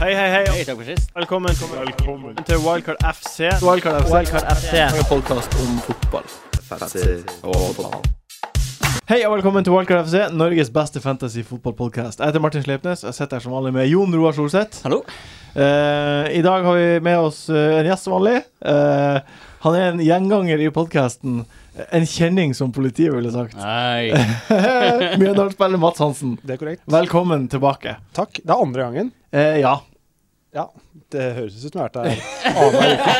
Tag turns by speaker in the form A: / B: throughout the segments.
A: Hei, hei, hei.
B: takk for sist.
A: Velkommen, til Wildcard FC.
C: Wildcard FC.
A: Wildcard FC.
C: En podkast om fotball.
A: Hei og velkommen til Wildcard FC, Norges beste fantasy-fotballpodkast. Jeg heter Martin Sleipnes. Jeg sitter her som vanlig med Jon Roar Solseth.
B: Hallo.
A: Eh, I dag har vi med oss eh, en gjest som vanlig. Eh, han er en gjenganger i podkasten. En kjenning, som politiet ville sagt.
B: Nei.
A: Mjøndalen-spiller Mats Hansen,
D: Det er korrekt.
A: velkommen tilbake.
D: Takk. Det er andre gangen.
A: Eh, ja.
D: Det høres ut som jeg har vært her annenhver uke.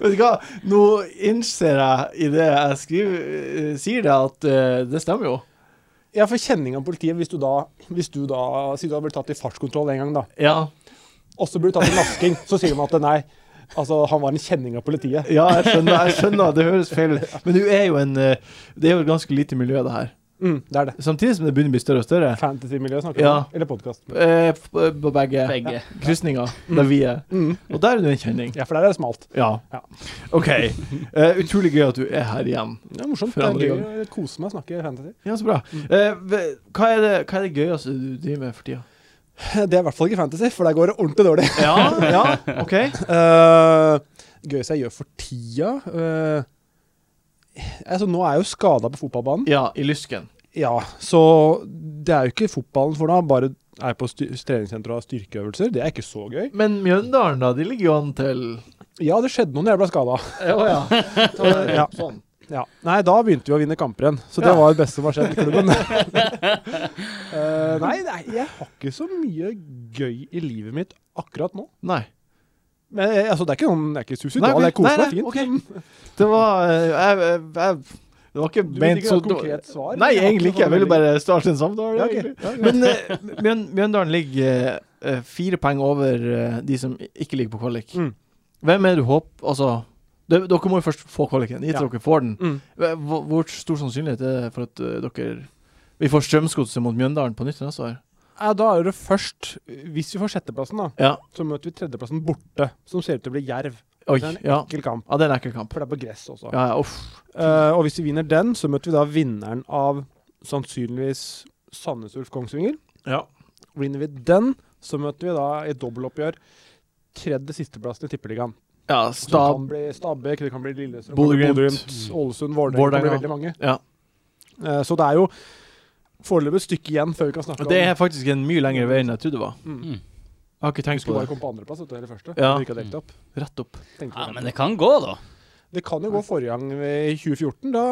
A: Vet du hva, nå innser jeg i det jeg skriver, eh, sier det, at eh, det stemmer jo.
D: Jeg får kjenning av politiet hvis du da, hvis du da sier du har blitt tatt i fartskontroll en gang, da,
A: Ja,
D: og så blir du tatt i nasking, så sier de at nei, altså han var en kjenning av politiet.
A: ja jeg, skjønner, jeg skjønner, det høres feil ut. Men du er jo en eh, Det er jo et ganske lite miljø, det her.
D: Mm, det er det.
A: Samtidig som det begynner å bli større og større.
D: Fantasy-miljø snakker vi
A: Ja.
D: om. Eller podkast.
A: Eh, f- På begge,
B: Begge.
A: krysninger, der vi er.
D: Mm.
A: Og der er du en kjenning.
D: Ja, for der er det smalt.
A: Ja.
D: Ja.
A: OK. Eh, utrolig gøy at du er her igjen.
D: Det er morsomt.
A: For
D: Det
A: andre
D: er gøy å kose meg å snakke fantasy.
A: Ja, så bra. Eh, ve- hva, er det, hva er det gøyeste du driver med for tida?
D: Det er i hvert fall ikke fantasy, for der går det ordentlig dårlig.
A: Ja, ja, OK.
D: Uh, gøyeste jeg gjør for tida eh, altså, Nå er jeg jo skada på fotballbanen.
A: Ja, i lysken.
D: Ja, så det er jo ikke fotballen for da, bare er på styr- treningssenter og har styrkeøvelser. Det er ikke så gøy.
A: Men Mjøndalen, da? De ligger jo an til
D: Ja, det skjedde noe når jeg ble skada.
A: Å ja.
D: Ja.
A: Sånn.
D: Ja. Nei, da begynte vi å vinne kamper igjen, så det
A: Ja.
D: var det beste som har skjedd i klubben. Eh, nei, nei, jeg har ikke så mye gøy i livet mitt akkurat nå.
A: Nei.
D: Men eh, altså, det er ikke noen, det er ikke suicidal, jeg koser meg fint.
A: ok. Det var eh, jeg, jeg, jeg, Det var ikke
D: Du vil
A: ment
D: ikke
A: så
D: ha et konkret svar?
A: Nei, egentlig ikke. Jeg ville bare starte en samtale.
D: Ja, ok.
A: egentlig.
D: Ja, greit.
A: Men eh, Mjøn- Mjøndalen ligger eh, fire poeng over eh, de som ikke ligger på kvalik.
D: Mm.
A: Hvem er du håper Altså, de, dere må jo først få kvaliken, gitt
D: Ja.
A: dere får den.
D: Mm.
A: Hva- Hvor, hvor stor sannsynlighet er det for at eh, dere Vi får Strømsgodset mot Mjøndalen på nytt neste år?
D: Ja, da er det først Hvis vi får sjetteplassen, da,
A: Ja.
D: så møter vi tredjeplassen borte, som ser ut til å bli Jerv.
A: Oi.
D: Det er en
A: Ja.
D: ekkel kamp,
A: ja, det er en ekkel kamp.
D: for det er på gress også.
A: Ja, ja, uff.
D: Eh, og hvis vi vinner den, så møter vi da vinneren av sannsynligvis Sandnes Ulf Kongsvinger.
A: Ja.
D: Vinner vi den, så møter vi da i dobbeltoppgjør tredje sisteplassen i Tippeligaen.
A: ja
D: Så Det
A: Stab.
D: kan bli Stabæk, det kan bli Lillestrøm,
A: Bodø-Glimt.
D: Bodø-Glimt, Ålesund, Vålerenga. Det kan bli
A: Vålerenga.
D: veldig mange.
A: Ja.
D: Eh, så det er jo foreløpig et stykke igjen før vi kan snakke
A: Og Det
D: om
A: er faktisk en mye lengre vei enn jeg trodde det var.
D: Mm.
B: Mm.
A: Jeg har ikke
D: Vi
A: tenkt
D: skulle
A: på
D: bare
A: det.
D: komme på andreplass, vet du, eller første.
A: Ja.
D: Vi ikke har dekt opp.
A: Rett opp.
D: Tenkte
B: Ja,
D: vi
B: men
D: det.
B: det kan gå, da.
D: det kan jo gå forrige gang vi- i 2014. Da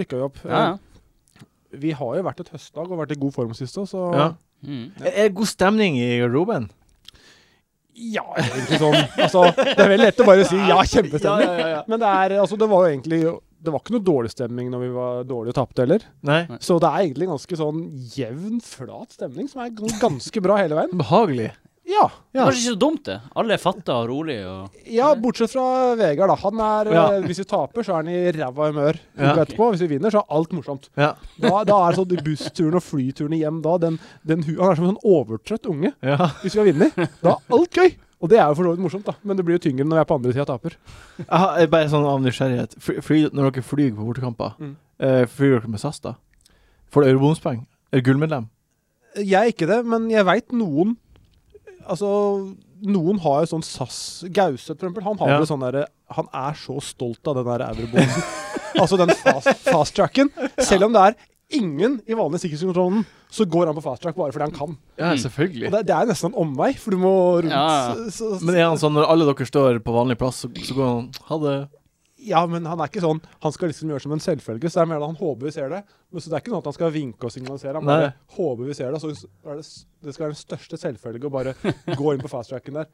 D: rykka vi opp.
B: Ja, ja.
D: Eh, Vi har jo vært et høstdag og vært i god form sist òg, så
A: Ja.
B: Mm.
A: Er er det god stemning i garderoben?
D: Ja, egentlig sånn. Altså, det er vel lett å bare si ja, kjempestemning.
A: ja, ja.
D: Men det, er, altså, det var jo egentlig Det var ikke noe dårlig stemning når vi var dårlige og tapte heller.
A: Nei.
D: Så det er egentlig ganske sånn jevn, flat stemning, som er gans- ganske bra hele veien.
A: Behagelig.
D: Ja.
B: Det
A: Ja.
B: var ikke så dumt, det. Alle er fatta og rolige og
D: ja, bortsett fra Vegard, da. Han er,
A: Ja.
D: eh, Hvis vi taper, så er han i ræva humør
A: Ja.
D: uka etterpå. Hvis vi vinner, så er alt morsomt.
A: Ja.
D: Da, da er sånn de bussturene og flyturene hjem da den, den, hu- Han er som en sånn overtrøtt unge.
A: ja.
D: Hvis vi har vunnet, da er alt gøy. Og det er jo for så vidt morsomt, da. Men det blir jo tyngre når jeg er på andre sida og taper.
A: Jeg har, jeg bare sånn av nysgjerrighet. Fly, fly, når dere flyr på bortekamper,
D: Mm.
A: eh, flyr dere med SAS da? Får dere eurobonuspoeng? Er dere gullmedlem?
D: Jeg er ikke det, men jeg veit noen Altså, noen har jo sånn SAS Gauseth, for eksempel. Han har
A: Ja.
D: vel sånn derre Han er så stolt av den der eurobonusen. altså den fast, fast tracken. Selv om det er ingen i vanlig sikkerhetskontrollen, så går han på fast track bare fordi han kan.
A: Ja,
B: Mm.
D: Og
A: selvfølgelig.
D: det, det er nesten en omvei, for du må rundt.
B: Ja, ja.
D: Så, så,
A: Men er han sånn når alle dere står på vanlig plass, så, så går han Ha det.
D: ja, men han er ikke sånn Han skal liksom gjøre som en selvfølge, så det er mer at han håper vi ser det. Men så det er ikke sånn at han skal vinke og signalisere. Han bare
A: Nei.
D: håper vi ser det. Så er det, s- det skal være den største selvfølge å bare gå inn på fast-tracken der.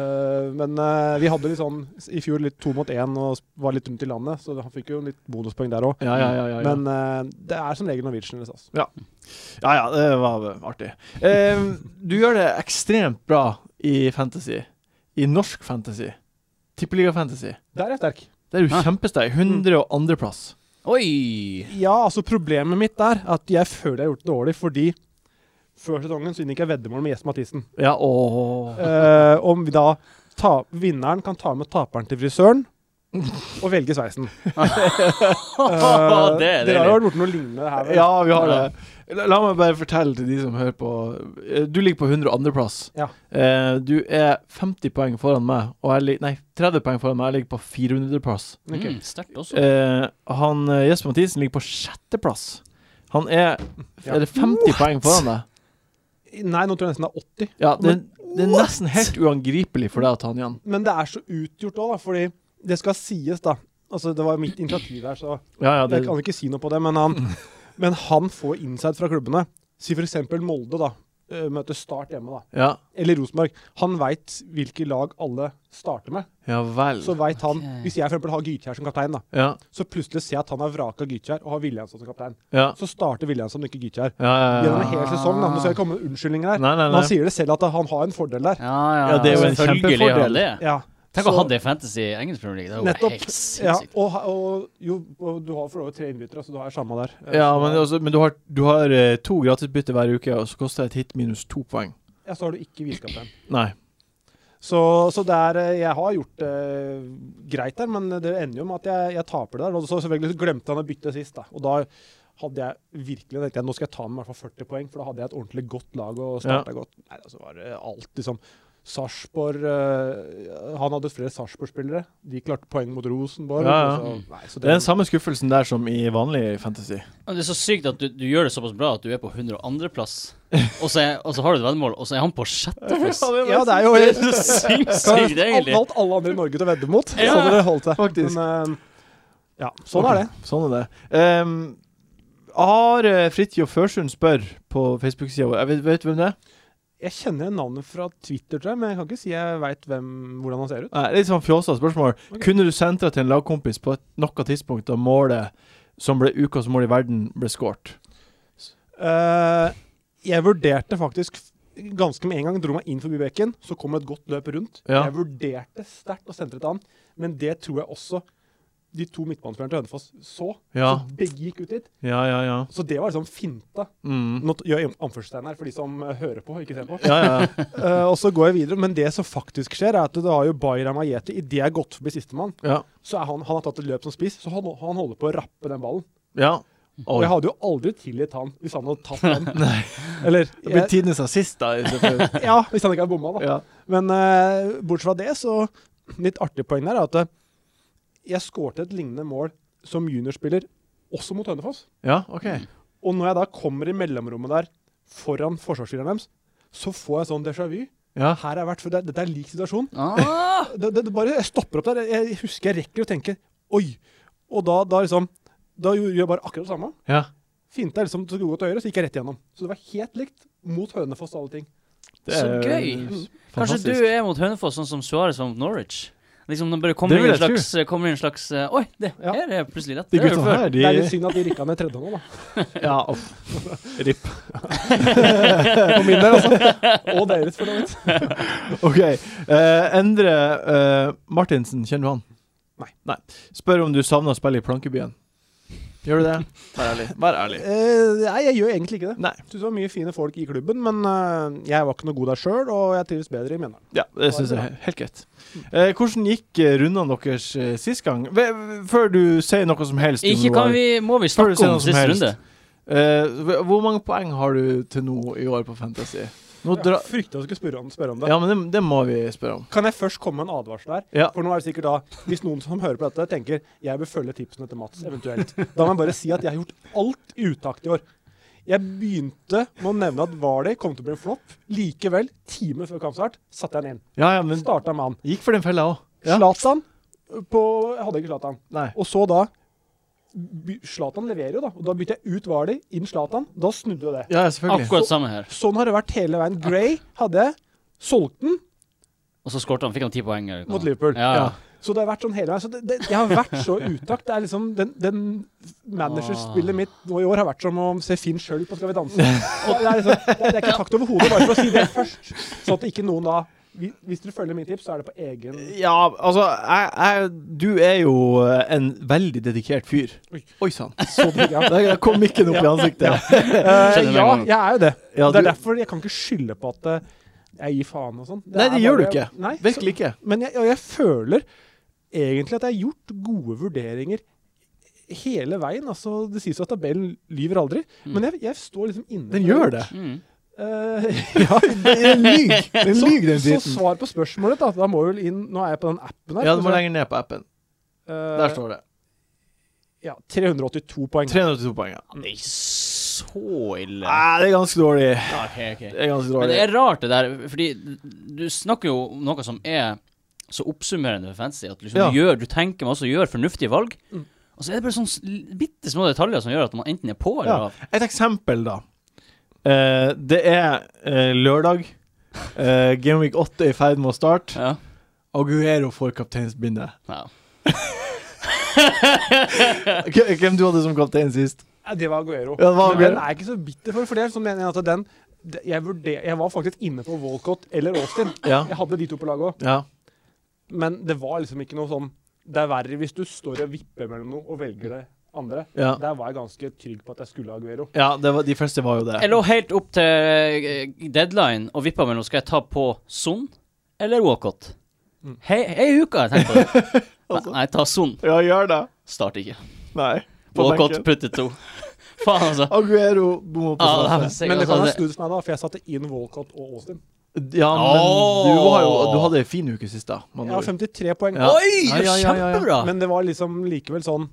D: Eh, men eh, vi hadde litt sånn s- i fjor litt to mot én og s- var litt rundt i landet, så han fikk jo litt bonuspoeng der òg.
A: Ja, ja, ja. ja, ja.
D: Men eh, det er som regel Norwegian altså. eller SAS.
A: ja, ja det var eh, artig. Eh, du gjør det ekstremt bra i fantasy. I norsk fantasy. Tippeliga-fantasy.
D: Der er jeg sterk.
A: Der er du
B: Ja.
A: kjempesterk. 102.-plass.
B: Oi!
D: Ja, altså problemet mitt er at jeg føler jeg har gjort det dårlig fordi før sesongen så inngikk jeg veddemål med Jesper Mathisen.
A: Ja, ååå.
D: Eh, om vi da ta, vinneren kan ta med taperen til frisøren og velge sveisen. Eh,
B: det er
D: dere har
B: deilig.
D: jo vært borti noe lignende her. vel?
A: Ja, vi har det. La, la meg bare fortelle til de som hører på. Eh, Du ligger på 102.-plass.
D: Ja.
A: Eh, du er 50 poeng foran meg, og jeg ligger Nei, 30 poeng foran meg. Jeg ligger på 400.-plass.
D: Ok.
B: Mm, Sterkt også.
A: Eh, han eh, Jesper Mathisen ligger på sjetteplass. Han er
D: Ja.
A: Er det 50 poeng foran deg?
D: Nei, nå tror jeg nesten det er 80.
A: Ja, det, det er nesten helt uangripelig for deg å ta han igjen.
D: Men det er så utgjort òg, da, fordi det skal sies, da. Altså, det var mitt initiativ her, så
A: Ja, ja, det,
D: jeg kan ikke si noe på det. Men han, men han får insight fra klubbene. Si f.eks. Molde, da. eh, Møter Start hjemme, da.
A: ja.
D: Eller Rosenborg. Han veit hvilke lag alle starter med.
A: ja vel.
D: Så veit han
B: Ok.
D: Hvis jeg for eksempel har Gytkjær som kaptein, da,
A: Ja,
D: så plutselig ser jeg at han har vraka Gytkjær og har Williamson som kaptein.
A: ja.
D: Så starter Williamson, ikke Gytkjær.
A: Ja, ja,
D: Gjennom
A: ja.
D: en hel sesong. da, Nå skal jeg komme med unnskyldninger her.
A: Nei, nei,
D: Men han
A: nei.
D: sier det selv at han har en fordel der.
B: Ja, ja,
A: Ja, det er jo en
B: selvfølgelig
A: kjempefordel.
B: har han det.
D: Ja.
B: Tenk å
D: Så-
B: ha det i Fantasy engelsk Premier League. Det er jo
D: Nettopp.
B: helt
D: Ja,
B: sinnssykt.
D: og, ha- og jo, og du har for over tre innbyttere, så du har samme der. Eh,
A: Ja,
D: så-
A: men, altså, men du har, du har eh, to gratisbytte hver uke, og så koster et hit minus to poeng.
D: ja, så har du ikke viskaptein.
A: Nei.
D: Så, så det er, eh, jeg har gjort det greit der, men det ender jo med at jeg, jeg taper det der. Og så selvfølgelig så glemte han å bytte sist, da. Og da hadde jeg virkelig tenkte jeg, nå skal jeg ta med i hvert fall 40 poeng, for da hadde jeg et ordentlig godt lag og starta godt. Nei, altså var det alt liksom Sarpsborg eh, Han hadde flere Sarpsborg-spillere. De klarte poeng mot Rosenborg.
A: Ja, ja.
D: og Så, nei, så
A: Det er den samme skuffelsen der som i vanlig fantasy.
B: Men Det er så sykt at du, du gjør det såpass bra at du er på 102.-plass, og, så er- og så har du et veddemål, og så er han på sjetteplass.
D: ja, det er jo
B: Det er så sinnssykt,
D: Alt,
B: egentlig.
D: alt alle andre i Norge til å vedde mot.
B: Ja,
D: Så hadde det holdt seg.
A: faktisk.
D: Men, eh, ja, sånn er det.
A: Sånn er det. Ehm, har eh, Fridtjof Førsund spør på Facebook-sida vår Jeg vet, vet du hvem det er?
D: Jeg kjenner igjen navnet fra Twitter, tror jeg, men jeg kan ikke si jeg veit hvordan han ser ut.
A: Nei, litt sånn fjåsa spørsmål.
D: Ok.
A: Kunne du sentra til en lagkompis på et noe tidspunkt da målet som ble ukas mål i verden, ble skåret?
D: Eh, jeg vurderte faktisk f- ganske med en gang, dro meg inn forbi bekken, så kom et godt løp rundt.
A: Ja.
D: Jeg vurderte sterkt å sentre til han, men det tror jeg også de to midtbanespillerne til Hønefoss så.
A: Ja.
D: Så begge gikk ut dit.
A: Ja, ja, ja.
D: Så det var liksom finta.
A: Mm.
D: Nå t- gjør jeg anførselstegn her for de som eh, hører på, ikke ser på.
A: Ja, ja, ja.
D: Eh, og så går jeg videre, men det som faktisk skjer, er at det har jo Bayram Ayeti Idet jeg har gått forbi sistemann,
A: ja.
D: så er han, han har tatt et løp som spiss, så han, han holder på å rappe den ballen.
A: ja.
D: Og
A: Oi.
D: jeg hadde jo aldri tilgitt han hvis han hadde tatt den. Eller
A: Det blir
D: jeg,
A: tidenes assist, da. i stedet for-
D: Ja, hvis han ikke hadde bomma, da.
A: Ja.
D: Men eh, bortsett fra det, så Litt artig poeng der er at eh, jeg skårte et lignende mål som juniorspiller, også mot Hønefoss.
A: ja, OK.
D: Og når jeg da kommer i mellomrommet der foran forsvarsspilleren deres, så får jeg sånn déjà vu.
A: Ja.
D: Her har jeg vært før. Det- Dette er lik situasjon.
B: Ah,
D: det, det, det bare jeg stopper opp der. Jeg, jeg husker jeg rekker å tenke Oi! Og da, da liksom Da gjorde jeg bare akkurat det samme.
A: ja.
D: Finta liksom til gode til høyre, så gikk jeg rett igjennom. Så det var helt likt mot Hønefoss og alle ting.
B: Så gøy. kanskje du
A: Fantastisk.
B: er mot Hønefoss, sånn som Suarez var mot Norwich? Liksom, det bare kommer
A: Det
B: inn
A: vil
B: en
A: jeg
B: slags, kommer inn en slags eh, Oi, det
D: Ja.
B: her er plutselig lett.
A: De
B: Det har jeg
A: gutta
B: gjort før.
A: her,
D: Det er litt
A: de
D: synd at de rykka ned tredje nå, da.
A: Ja, off. Ripp.
D: For min del, altså. Og deres, for så vidt.
A: OK. eh, Endre eh, Martinsen, kjenner du han?
D: Nei.
A: Spør om du savner å spille i Plankebyen. Gjør du det? Vær ærlig. Vær ærlig.
D: Eh, nei, jeg gjør egentlig ikke det.
A: Nei.
D: Syns det var mye fine folk i klubben, men eh, jeg var ikke noe god der sjøl, og jeg trives bedre i Mjøndalen.
A: Ja, det syns jeg er helt greit. Eh, hvordan gikk eh, rundene deres eh, sist gang? Ve- før du sier noe som helst om
B: Ikke
A: noe
B: kan
A: her.
B: vi, må vi
A: Før du
B: snakke
A: sier
B: om
A: noe som
B: siste
A: helst.
B: runde.
A: Eh, hv- hvor mange poeng har du til nå i år på Fantasy? Nå dra
D: Jeg frykta jeg skulle spørre om, spørre om det.
A: ja, men det, det må vi spørre om.
D: Kan jeg først komme med en advarsel her?
A: Ja.
D: For nå er det sikkert da, hvis noen som hører på dette, tenker jeg bør følge tipsene til Mats, eventuelt. Da må jeg bare si at jeg har gjort alt i utakt i år. Jeg begynte med å nevne at Vali kom til å bli en flopp. Likevel, timer før kampstart, satte jeg den inn.
A: Ja, ja, men
D: Starta med han.
A: gikk for den fella òg. Ja.
D: Zlatan på Jeg hadde ikke Zlatan.
A: Nei.
D: Og så da by- Zlatan leverer jo, da. Og da bytte jeg ut Vali, inn Zlatan. Da snudde jo det.
A: Ja, ja, selvfølgelig.
B: Akkurat samme her.
D: Sånn har det vært hele veien. Gray hadde jeg. Solgte den
B: Og så skårte han, fikk han ti poeng. eller hva?
D: mot Liverpool.
B: Ja, ja.
A: Ja.
D: Så det har vært sånn hele veien. Så det, det, jeg har vært så utakt. Det er liksom den, den managerspillet
A: Ah.
D: mitt nå i år har vært som å se Finn sjøl på Skal vi danse. Og det, er liksom, det, det er ikke takt over hodet, bare for å si det først. Sånn at ikke noen da vi- Hvis dere følger mine tips, så er det på egen
A: Ja, altså jeg, jeg, Du er jo eh, en veldig dedikert fyr.
D: Oi.
A: Oi sann.
D: så digg, ja.
A: Der kom mikken opp i ansiktet.
D: Eh,
B: Skjønner
D: ja,
B: meg godt.
D: jeg er jo det.
A: Ja,
D: Det er
A: du,
D: derfor jeg kan ikke skylde på at eh, jeg gir faen og sånn.
A: Nei,
D: er
A: det gjør du
D: bare-
A: ikke.
D: Nei, så,
A: virkelig ikke.
D: men jeg, og jeg føler egentlig at jeg har gjort gode vurderinger hele veien. altså Det sies jo at tabellen lyver aldri,
B: Mm.
D: men jeg, jeg står liksom inne
A: Den gjør det.
B: Mm.
D: Eh,
A: Ja, den lyver, den,
D: så,
A: lyver, den
D: så
A: dritten.
D: svar på spørsmålet, da. Da må vi vel inn Nå er jeg på den appen her.
A: Ja, du må lenger ned på appen.
D: Eh,
A: Der står det.
D: Ja, 382 poeng.
A: 382 poeng. ja.
B: Det er ikke så ille.
A: Nei, det er ganske dårlig.
B: Ja, Ah, ok, ok.
A: Det er ganske
B: Men
A: dårlig.
B: det er rart det der, fordi du snakker jo om noe som er så oppsummerende for fantasy, at liksom
A: Ja.
B: du, gjør, du tenker masse og gjør fornuftige valg,
D: Mm.
B: og så er det bare sånne bitte små detaljer som gjør at man enten er på eller
A: Ja.
B: av.
A: Et eksempel, da. Eh, det er eh, lørdag. Uh, Game Week 8 er i ferd med å starte.
B: Ja.
A: Aguero får kapteinsbindet.
B: Ja.
A: K- Hvem du hadde som kaptein sist?
D: Nei, Det var Aguero.
A: Ja, det var
D: Men
A: Aguero.
D: den er jeg ikke så bitter for, for det er sånn meningen at den det- jeg, vurder, jeg var faktisk inne på Walcott eller Austin.
A: Ja.
D: Jeg hadde de to på laget òg,
A: ja.
D: men det var liksom ikke noe sånn Det er verre hvis du står og vipper mellom noe og velger det andre.
A: Ja,
D: Der var jeg ganske trygg på at jeg skulle ha Aguero.
A: ja det var, de første var jo det.
B: Jeg lå helt opp til eh, deadline og vippa mellom skal jeg ta på Son eller Walcott.
D: Mm.
B: Hei, hei uka, jeg tenkte på det.
A: Altså.
B: Nei, Nei, ta Son.
A: Ja, gjør det.
B: Start ikke.
A: Nei. På
B: Walcott
A: benken.
B: putter to. Faen, altså.
A: Aguero bomma på
B: Ja, det er
A: straffe.
B: sikkert,
D: Men det kan
B: altså,
D: ha
B: det-
D: snudd for meg, da, for jeg satte inn Walcott og Austin.
A: Ja, men du, var jo, du hadde ei en fin uke sist, da. med
D: Jeg
A: andre
D: har
A: ord.
D: 53 poeng.
A: Ja.
B: Sånn Oi!
A: Ja, ja, ja, ja.
B: Kjempebra!
D: Men det var liksom likevel sånn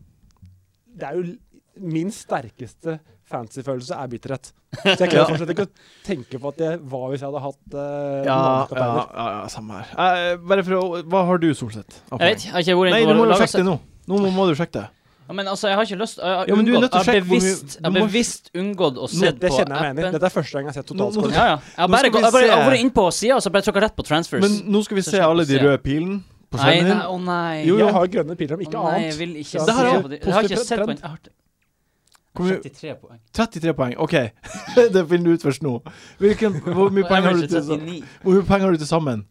D: Det er jo l- min sterkeste fancy-følelse er bitterhet. Så jeg
A: Ja.
D: klarer fortsatt ikke å tenke på at det var hvis jeg hadde hatt uh,
A: Ja, ja, ja, ja, samme her. Eh, bare for å Hva har du, Solseth? av poeng?
B: Jeg vet ikke, jeg har ikke vært
A: Nei,
B: inne
A: du
B: på
A: må jo
B: laget
A: sjekke det nå. Nå må, må du sjekke det.
B: Ja, men altså, jeg har ikke lyst Jeg har
A: Ja, men du er nødt
B: unngått,
A: til å
B: jeg har
A: sjekke hvor mye-
B: bevisst, jeg har
A: du må-
B: bevisst unngått å se
D: Det, det
B: på
D: kjenner jeg meg enig i.
B: appen.
D: Dette er første gang jeg har sett
A: Nå- nå-
D: totalscoren.
B: Ja, ja. Jeg har
A: Nå
B: bare,
A: skal vi
B: gått- jeg bare, jeg har
A: se.
B: vært inne på sida og så bare trykka rett på transfers.
A: Men nå skal vi se alle de røde pilene på
B: nei,
A: skjermen
B: nei,
A: din.
B: å nei.
A: Jo, jo.
D: Jeg har grønne piler, om ikke
B: Å nei, jeg
D: annet.
B: vil ikke
D: Ja,
B: se
A: det her er
B: på de Jeg har ikke
D: positiv
B: sett på
D: trend.
B: en Jeg har t-
A: Hvor mye-
B: 73 poeng.
A: 33 poeng. OK, det finner du ut først nå. Hvilken, hvor, mye
B: Og
A: penger har du
B: average
A: til,
B: 39.
A: hvor mye penger har du til sammen?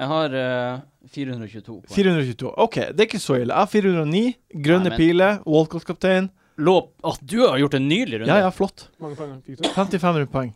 B: Jeg har eh, 422 poeng.
A: 422. OK, det er ikke så ille. Jeg har 409.
B: Nei,
A: Grønne
B: men-
A: piler. Walcott-kaptein.
B: Lå Å, du har gjort en nylig runde.
A: Ja, ja, flott.
D: Mange poeng fikk du.
A: 55 poeng.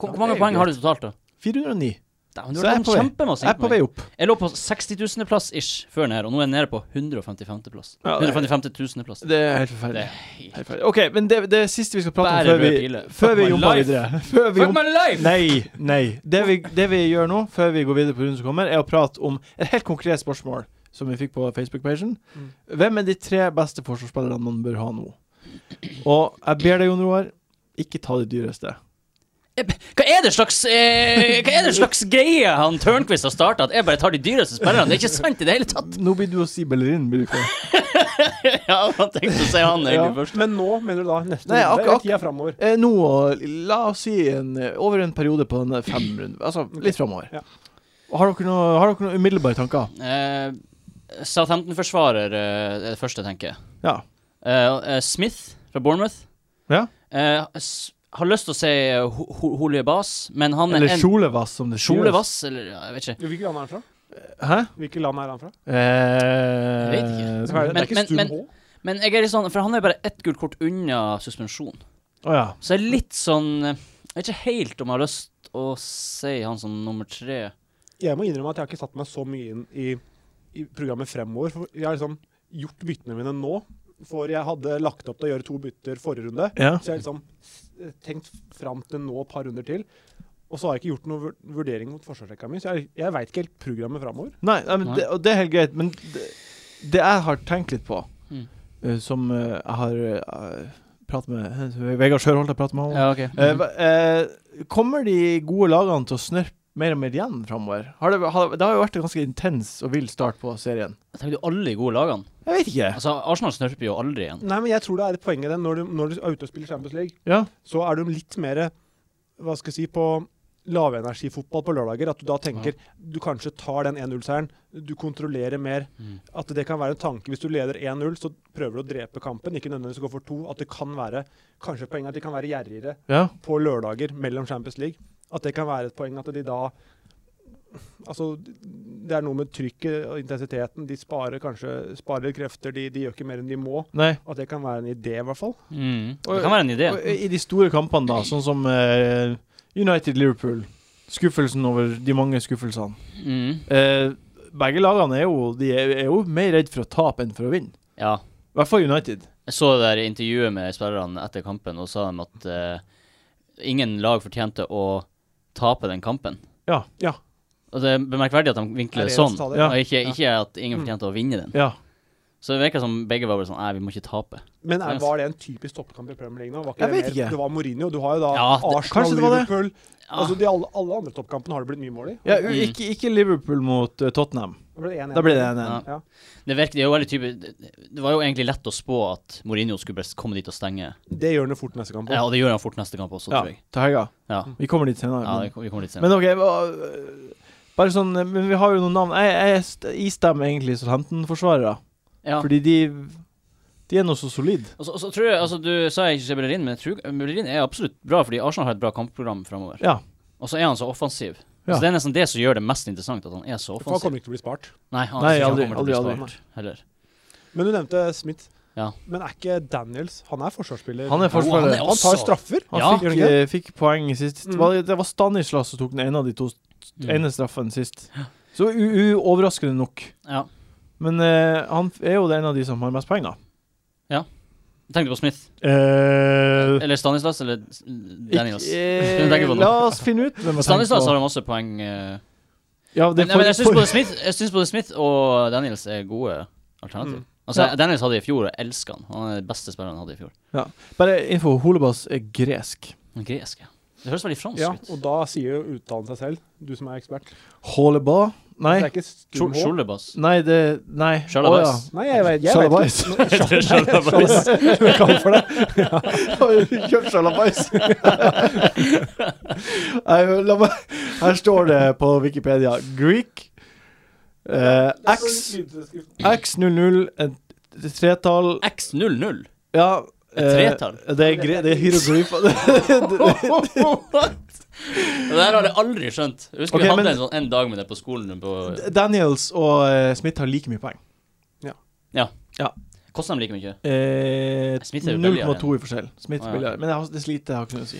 B: Hvor,
A: Ja,
B: hvor mange
A: det er
B: poeng
A: greit.
B: har du totalt, da?
A: 409.
B: Dæven,
A: Så
B: du
A: jeg
B: har
A: er på vei.
B: kjempemasse
A: Jeg er på
B: innpoeng.
A: vei opp.
B: Jeg lå på 60 000 plass ish før den her, og nå er jeg nede på 155 plass.
A: Ja, det er-
B: 155 000 plass.
A: Det er helt
B: Det
A: forferdelig.
B: er helt
A: Helt forferdelig. OK, men det, det siste vi skal prate om
B: Bare
A: før vi,
B: røde piler.
A: før vi
B: Fuck my
A: jobber
B: life.
A: videre Før vi
B: Fuck my life!
A: Nei, nei. Det vi, det vi gjør nå, før vi går videre på runden som kommer, er å prate om et helt konkret spørsmål som vi fikk på Facebook-pagen.
D: Mm.
A: Hvem er de tre beste forsvarsspillerne man bør ha nå? Og jeg ber deg, Jon Roar, ikke ta de dyreste.
B: Hva er det slags eh, Hva er det slags greie han Tørnquist har starta, at jeg bare tar de dyreste spillerne? Det er ikke sant i det hele tatt!
A: Nå blir du å si Bellerin, blir du ikke?
B: Ja, han tenkte å si han egentlig først.
D: Men nå, mener du da? Neste
A: Nei,
D: runde?
A: akkurat-
D: Eller tida framover?
A: Eh, nå, la oss si en, over en periode på denne fem runden, altså litt framover.
D: Ja.
A: Har dere noe- har dere noen umiddelbare tanker?
B: Eh, Southampton-forsvarer eh, er det første jeg tenker.
A: Ja.
B: Eh, eh, Smith fra Bournemouth.
A: Ja.
B: Eh, s- har lyst til å si eh, Ho- Ho- Holie Bas, men han er
A: Eller
B: en
A: Sjolevass, som det sies.
B: Sjolevass, eller ja, jeg vet ikke.
D: Hvilket land er han fra?
A: Hæ?
D: Hvilket land er han fra?
A: Eh,
B: Jeg vet ikke.
D: Det er
B: Men-
D: ikke
B: men-
D: Stum
B: men-
D: H?
B: Men jeg er litt sånn, for han er bare ett gult kort unna suspensjon.
A: Å ja.
B: Så jeg er litt sånn eh, Jeg vet ikke helt om jeg har lyst å si han som nummer tre.
D: Jeg må innrømme at jeg har ikke satt meg så mye inn i, i programmet fremover. For jeg har liksom gjort byttene mine nå. For jeg hadde lagt opp til å gjøre to bytter forrige runde.
A: ja.
D: Så jeg har liksom s- tenkt fram til nå et par runder til. Og så har jeg ikke gjort noen vur- vurdering mot forsvarsrekka mi, så jeg, jeg veit ikke helt programmet fremover.
A: Nei, nei, men
B: Nei.
A: Det, og det er helt greit, men det, det jeg har tenkt litt på,
B: Mm.
A: eh, som eh, jeg har eh, pratet med Vegard Sjørholt har pratet med ham om
B: Ja, ok.
A: Eh, hva- eh, Kommer de gode lagene til å snørpe mer og mer igjen framover? Har det, har, det har jo vært en ganske intens og vill start på serien.
B: Jeg tenker du alle de gode lagene.
A: Jeg vet ikke.
B: Altså, Arsenal snørper jo aldri igjen.
D: Nei, men jeg tror det er et poeng i det. Når du, når du er ute og spiller Champions League,
A: Ja,
D: så er du litt mer hva skal jeg si, på lavenergifotball på lørdager. At du da tenker du kanskje tar den 1-0-seieren, du kontrollerer mer.
B: Mm.
D: At det kan være en tanke hvis du leder 1-0, så prøver du å drepe kampen. Ikke nødvendigvis å gå for to. At det kan være Kanskje poenget er at de kan være gjerrigere
A: ja.
D: på lørdager mellom Champions League. At det kan være et poeng at de da Altså, det er noe med trykket og intensiteten. De sparer kanskje sparer krefter. De, de gjør ikke mer enn de må.
A: Nei.
D: At det kan være en idé, i hvert fall.
B: Mm. Det kan være en idé.
A: Og eh, I de store kampene, da, sånn som eh, United-Liverpool. Skuffelsen over de mange skuffelsene.
B: Mm.
A: Eh, begge lagene er jo, de er, er jo mer redd for å tape enn for å vinne.
B: Ja.
A: I hvert fall United.
B: Jeg så det der intervjuet med spillerne etter kampen, og sa dem at eh, ingen lag fortjente å tape den kampen.
D: Ja.
B: Og det er bemerkverdig at de vinkler det sånn,
D: resultatet?
A: Ja.
B: og ikke,
D: Ja.
B: ikke at ingen
D: Mm.
B: fortjente å vinne den.
A: Ja.
B: Så det virka som begge var bare sånn Nei, vi må ikke tape.
D: Men er, var det en typisk toppkamp i Premier League nå? Var ikke
A: Jeg
D: det
A: vet
D: mer-
A: ikke.
D: Det var Mourinho. Du har jo da
B: Ja, det-
D: Arsenal,
A: kanskje det var det.
D: Liverpool
B: Ja.
D: Altså de alle, alle andre toppkampene har det blitt mye mål i.
A: ja
B: Mm.
A: ikke, ikke Liverpool mot eh, Tottenham.
D: Da ble det 1-1.
A: Da blir det 1-1.
B: Ja.
D: Ja.
B: Det, virker, det, er jo veldig typisk- det, det var jo egentlig lett å spå at Mourinho skulle bare komme dit og stenge.
D: Det gjør han jo fort neste kamp.
B: Ja,
D: også.
B: og det gjør han fort neste kamp også,
A: Ja,
B: tror jeg.
A: til helga.
B: Ja,
A: Vi kommer dit senere.
B: ja
A: men-
B: det, vi kommer litt senere.
A: Men OK, hva- bare sånn eh, Men vi har jo noen navn. Jeg, jeg st- istemmer egentlig Southampton-forsvarere,
B: Ja.
A: fordi de De er nå så solide.
B: Og så, og så tror jeg, altså Du sa jeg ikke ser Bellerin, men jeg tror Bellerin er absolutt bra, fordi Arsenal har et bra kampprogram framover.
A: Ja.
B: Og så er han så offensiv.
A: Ja.
B: Så Det er nesten det som gjør det mest interessant, at han er så
D: For han
B: offensiv.
D: kommer ikke til å bli spart.
B: Nei, han,
A: Nei,
B: jeg tror
A: aldri,
B: ikke han kommer til å
A: aldri,
B: bli
D: aldri.
B: spart heller.
D: Men du nevnte Smith.
B: Ja.
D: Men er ikke Daniels Han er forsvarsspiller.
A: Han er
D: han,
A: forsvarer.
B: han er også-
D: tar straffer.
A: Han
B: Ja.
A: fikk,
D: Gjør han
A: eh, fikk poeng sist.
D: Mm.
A: Var det- Det var Stanislas som tok den ene av de to
B: Mm.
A: ene straffen sist. Så u u overraskende nok.
B: Ja.
A: Men eh, han f- er jo den av de som har mest poeng, da.
B: Tenkte du på Smith?
A: Eh,
B: Eller Stanislas? Eller S- Daniels?
A: ikke-
B: Skal vi tenke på noe?
A: la oss finne ut hvem jeg tenker
B: Eh, Stanislas
A: på.
B: har masse poeng. eh.
A: ja, det
B: Men,
A: er
B: nei, men jeg
A: for,
B: syns både
A: for,
B: Smith, jeg synes både Smith og Daniels er gode alternativ.
D: Mm.
B: Altså,
A: Ja.
B: Daniels hadde jeg i fjor, og jeg elsker han. Han er den beste spilleren han hadde i fjor.
A: Bare info, Holebas er gresk.
B: Han er Gresk, ja. Det høres veldig fransk
D: Ja,
B: ut.
D: og da sier jo uttalen seg selv, du som er ekspert.
A: Holeba?
D: Det
A: Nei.
D: er ikke
B: Skjol-
D: stum H.
B: Skjolebass.
A: Nei, det Nei.
B: Shalabais.
D: Nei, jeg vet, jeg vet ikke.
A: Sjalabais.
B: Shalabais.
D: Kall for det.
A: Kjøp sjalabais. Nei, la meg- Her står det på Wikipedia Greek eh, X X00 et et tretall
B: X00.
A: Ja.
B: Et
A: eh,
B: tretall?
A: Det er, gre- det er hieroglyfer.
B: What? Det der har jeg aldri skjønt. Jeg husker
A: Ok,
B: vi hadde
A: men-
B: en sånn en dag med det på skolen. På,
A: Daniels og eh, Smith har like mye poeng.
B: koster de like mye?
A: Eh,
B: Smith er jo
A: 0,2
B: billigere
A: i forskjell. Smith
B: Ah, ja.
A: billigere. Men det, har, det sliter jeg har ikke noe å si.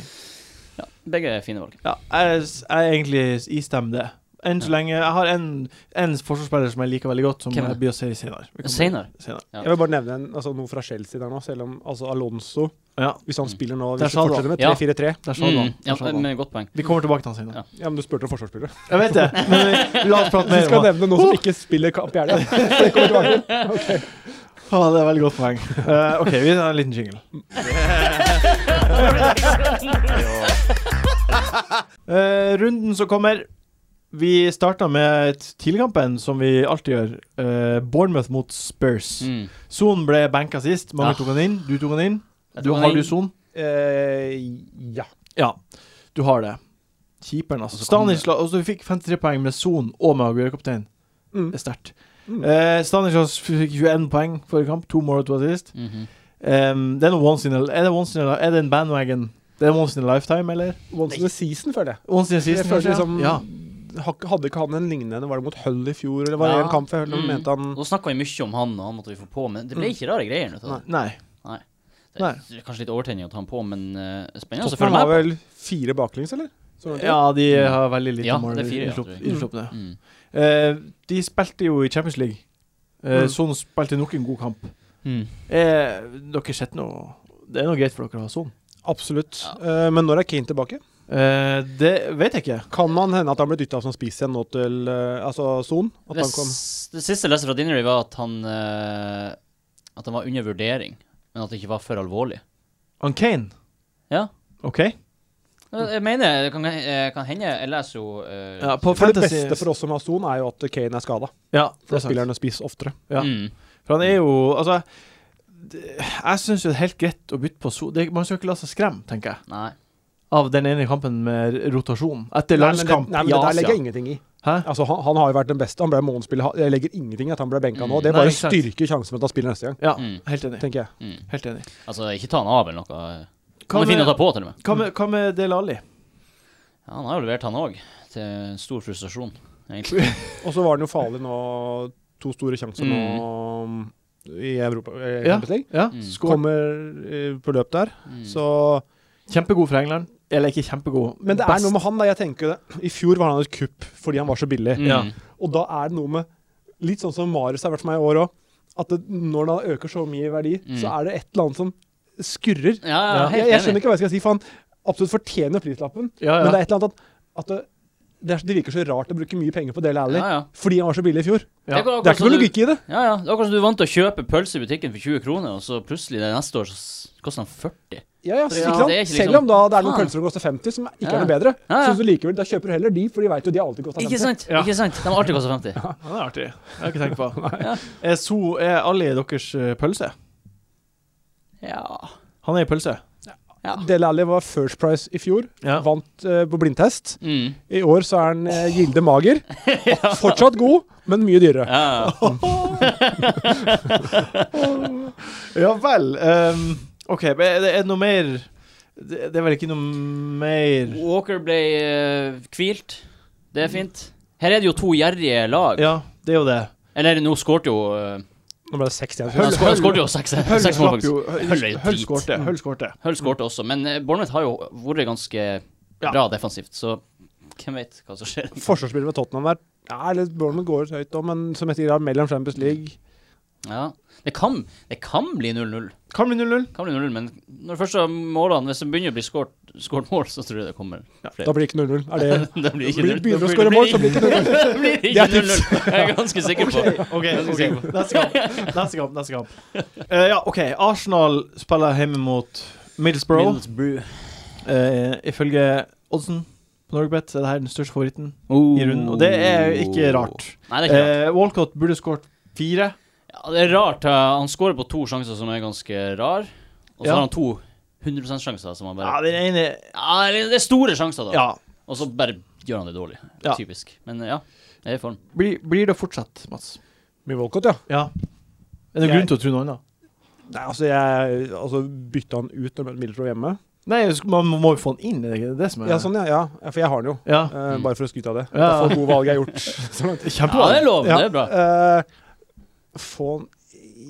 B: Ja, begge er fine valg.
A: Ja, jeg, s- jeg er egentlig istemmer det. Enn så
B: Ja.
A: lenge Jeg har en, en forsvarsspiller som jeg liker veldig godt, som
B: Hvem er
A: jeg blir å se senere. Vi kommer-
B: Senere.
A: senere.
B: Ja.
D: Jeg vil bare nevne en, altså, noe fra Chelsea der nå, selv om altså Alonso
A: Ja,
D: Hvis han spiller nå,
A: Der
D: hvis
A: sa
D: han
A: du
D: fortsetter med
B: Ja.
D: 3-4-3
A: der sa du
B: Mm,
A: han. Der
B: ja,
A: sa du han.
B: men godt poeng.
A: Vi kommer tilbake til han senere.
B: Ja.
D: Ja, men du spurte om forsvarsspillere.
A: Jeg vet det, men vi- la oss prate
D: Vi
A: mer
D: skal
A: om det.
D: nevne noen som ikke spiller kamp i helga. Det kommer tilbake til.
A: Ja, det er veldig godt poeng. Eh, OK, vi tar en liten jingle. Eh, runden som kommer Vi starta med et- tidligkampen, som vi alltid gjør. Eh, Bournemouth mot Spurs.
B: Mm.
A: Son ble benka sist. Mange
B: Ah.
A: tok han inn. Du tok han inn.
B: Jeg
A: Du,
B: tok han
A: har du
B: inn.
A: Son?
D: Eh, ja.
A: Ja, du har det. Keeperen, altså.
B: Og så kom det-
A: Stanisla, og så fikk 53 poeng med Son og med Aguero-kaptein.
D: Mm.
A: Det er sterkt.
D: Mm.
A: Eh, Stanislas fikk 21 poeng forrige kamp. To mål og to assist.
B: Mhm.
A: Em, det er noe once in a Er det once in a Er det en bandwagon? Det er once in a lifetime, eller?
D: Once in a season, føler jeg.
A: Once in a
D: Jeg
A: season,
D: føler
A: kanskje?
D: liksom
A: ja.
D: hak- Hadde ikke han en lignende Var det mot Hull i fjor, eller var det
B: Ja.
D: en kamp jeg hørte noen
B: Mm.
D: mente han
B: Nå snakka vi mye om han, og han måtte vi få på, men det ble ikke rare greier. Vet du.
A: Ja. Mm. Nei.
B: Det er kanskje litt overtenning å ta han på, men eh, spennende å
D: Han
B: følge
D: har
B: med.
D: vel fire baklengs, eller? Så var det det?
A: Ja, de har veldig lite
B: Ja,
A: mål
B: det er fire, ja,
A: innslupp-
B: tror jeg.
A: innsluppne.
B: på. Mm.
A: Eh, de spilte jo i Champions League. Eh,
D: Mm.
A: Son spilte nok en god kamp.
B: Mm.
A: Eh, dere sett noe Det er noe greit for dere å ha Son.
D: Absolutt. Eh, men når er Kane tilbake?
A: Eh, det vet jeg ikke.
D: Kan man hende at han blir dytta som spiss igjen nå til eh, altså Son? At
B: Det,
D: han kom
B: s- det siste jeg leste fra Dinnery, var at han eh, At han var under vurdering, men at det ikke var for alvorlig.
A: Han Kane.
B: Ja.
A: OK.
B: Ja, Jeg mener, det kan, eh, kan hende Jeg leser jo eh,
A: Mm. Ja, på
D: For det
A: fantasy
D: beste for oss som har Son, er jo at Kane er skada.
A: Ja, det
D: Da
A: er sant.
D: spiller han spiss oftere.
A: ja.
B: mm.
A: For han er jo Altså, det- jeg syns det er helt greit å bytte på so... Det, man skal ikke la seg skremme, tenker jeg,
B: Nei.
A: av den ene kampen med rotasjon. Etter
D: Nei, men det,
A: landskamp
D: nei, men
A: i
D: det der
A: Asia.
D: legger jeg ingenting i.
A: Hæ?
D: Altså, han, han har jo vært den beste. Han ble månedsspiller. Ha- Jeg legger ingenting i at han ble benka
B: Mm.
D: nå. Det
A: Nei,
D: bare
A: ikke sant.
D: styrker sjansen for at han spiller neste gang,
A: Ja,
B: Mm.
A: helt enig.
D: tenker jeg.
B: Mm.
A: Helt enig.
B: Altså, ikke ta han av eller noe.
A: Hva
B: Kan du finne å ta
A: med,
B: på, til og med?
A: hva med, hva med Del Ali?
B: Ja, han har jo levert, han òg. Til stor frustrasjon, egentlig.
D: Og så var han jo farlig nå. To store sjanser Mm. nå i Europa. eh, Champions League.
A: Ja,
B: Mm.
A: skår.
D: Kommer eh, på løp der.
B: Mm.
D: Så
A: Kjempegod for England. Eller ikke kjempegod,
D: Men det er noe med han, da. Jeg tenker det. I fjor var han et kupp fordi han var så billig.
B: Mm.
A: Ja.
D: Og da er det noe med Litt sånn som Marius har vært for meg i år òg. At det, når den øker så mye i verdi,
B: Mm.
D: så er det et eller annet som skurrer.
B: Ja, ja,
D: jeg,
B: helt
D: jeg skjønner
B: enig.
D: ikke hva jeg skal si, for han absolutt fortjener prislappen.
A: Ja,
D: Men
A: ja.
D: det er et eller annet at, at det, det, er, så- det virker så rart å bruke mye penger på Dale Alli
B: Ja, ja.
D: fordi han var så billig i fjor.
A: Ja.
B: er akkurat
D: Det er ikke
B: som
D: noe
B: du-
D: logikk i det.
B: Ja, ja. Det er akkurat som du er vant til å kjøpe pølse i butikken for 20 kroner, og så plutselig det neste år så s- koster den 40.
D: Ja, ja,
B: Ja,
D: ikke sant?
B: det er ikke
D: Selv
B: liksom-
D: om da det er noen
B: Faen.
D: pølser som koster 50, som
B: Ja.
D: ikke er noe bedre.
B: Ja, ja.
D: Så likevel, da kjøper du heller de, for de vet jo de har alltid kosta
B: Ikke
D: 50.
B: sant?
A: Ja.
B: Ikke sant? De har alltid kosta 50.
A: Ja, det er artig. Det har jeg ikke tenkt på.
B: Ja.
A: Er, so, er Ali deres eh, pølse?
B: Ja.
A: Han er i pølse.
B: ja.
D: Dele Alli var first price i fjor,
A: Ja.
D: vant eh, på blindtest.
B: Mm.
D: I år så er han eh, Gilde Mager. Fortsatt god, men mye dyrere.
B: Ja. ja.
A: Ja vel. ehm, OK, men er det, er det noe mer det, det er vel ikke noe mer
B: Walker ble eh, hvilt. Det er fint. Her er det jo to gjerrige lag.
A: Ja, det er jo det.
B: Eller nå skårte jo eh,
D: Nå ble det 60 igjen.
B: Han skå- han skårte jo seks
A: Hull
B: seks mål,
A: slapp jo
B: faktisk. Hull er jo
A: Hull
B: drit.
A: skårte. Hull skårte.
B: Hull skårte også, men eh, Bournemouth har jo vært ganske
A: Ja.
B: bra defensivt, så hvem vet hva som skjer.
D: Forsvarsspiller med Tottenham der. Ja, eller Bournemouth går høyt òg, men som jeg sier, da, mellom Champions League
B: Ja. Det kan, det kan bli 0-0.
D: Mm.
A: Kan bli 0-0.
B: Kan bli 0-0, Men når først så målene Hvis det begynner å bli skåret skåret mål, så tror jeg det kommer
D: Da blir det ikke 0-0. Er det
B: Det blir ikke
D: Blir-
B: 0-0.
D: Begynner å skåre mål, så blir det ikke 0-0.
B: Det blir
D: Det
B: ikke
D: er tips.
B: 0-0. Jeg er ganske sikker på det.
A: OK, ok. neste kamp. Neste kamp. Neste kamp. Eh, ja, OK. Arsenal spiller hjemme mot Middlesbrough.
B: Middlesbrough.
A: Eh, ifølge oddsen på Norgebet er det her den største favoritten
B: Oh.
A: i runden, og det er ikke rart.
B: Nei, det er ikke rart.
A: Eh, Walcott burde skåret fire.
B: Ja, det er rart. eh, Han skårer på to sjanser som er ganske rar, og så
A: Ja.
B: har han to 100 sjanser som han
A: Ja,
B: bare
A: den ene
B: Ja, det er store sjanser, da.
A: Ja.
B: Og så bare gjør han det dårlig.
A: Ja.
B: Typisk. Men ja, det er i form.
A: Blir, blir det fortsatt, Mats?
D: Mye Walcott, ja.
A: Ja. Er det noen
D: Jeg-
A: grunn til å tro noe annet?
D: Nei, altså, jeg altså, bytta han ut når jeg møtte Middlesbrough hjemme.
A: Nei, sk- man må jo få den inn, er det ikke det som er
D: Ja, sånn, ja. ja. ja, For jeg har den jo.
A: Ja.
D: Eh,
B: Mm.
D: bare for å skryte av det. Det
A: Ja.
D: er for gode valg jeg har gjort. Sånn så langt.
B: Ja,
A: Kjempebra.
B: det er lov.
D: Ja,
B: Det er bra.
D: eh, få han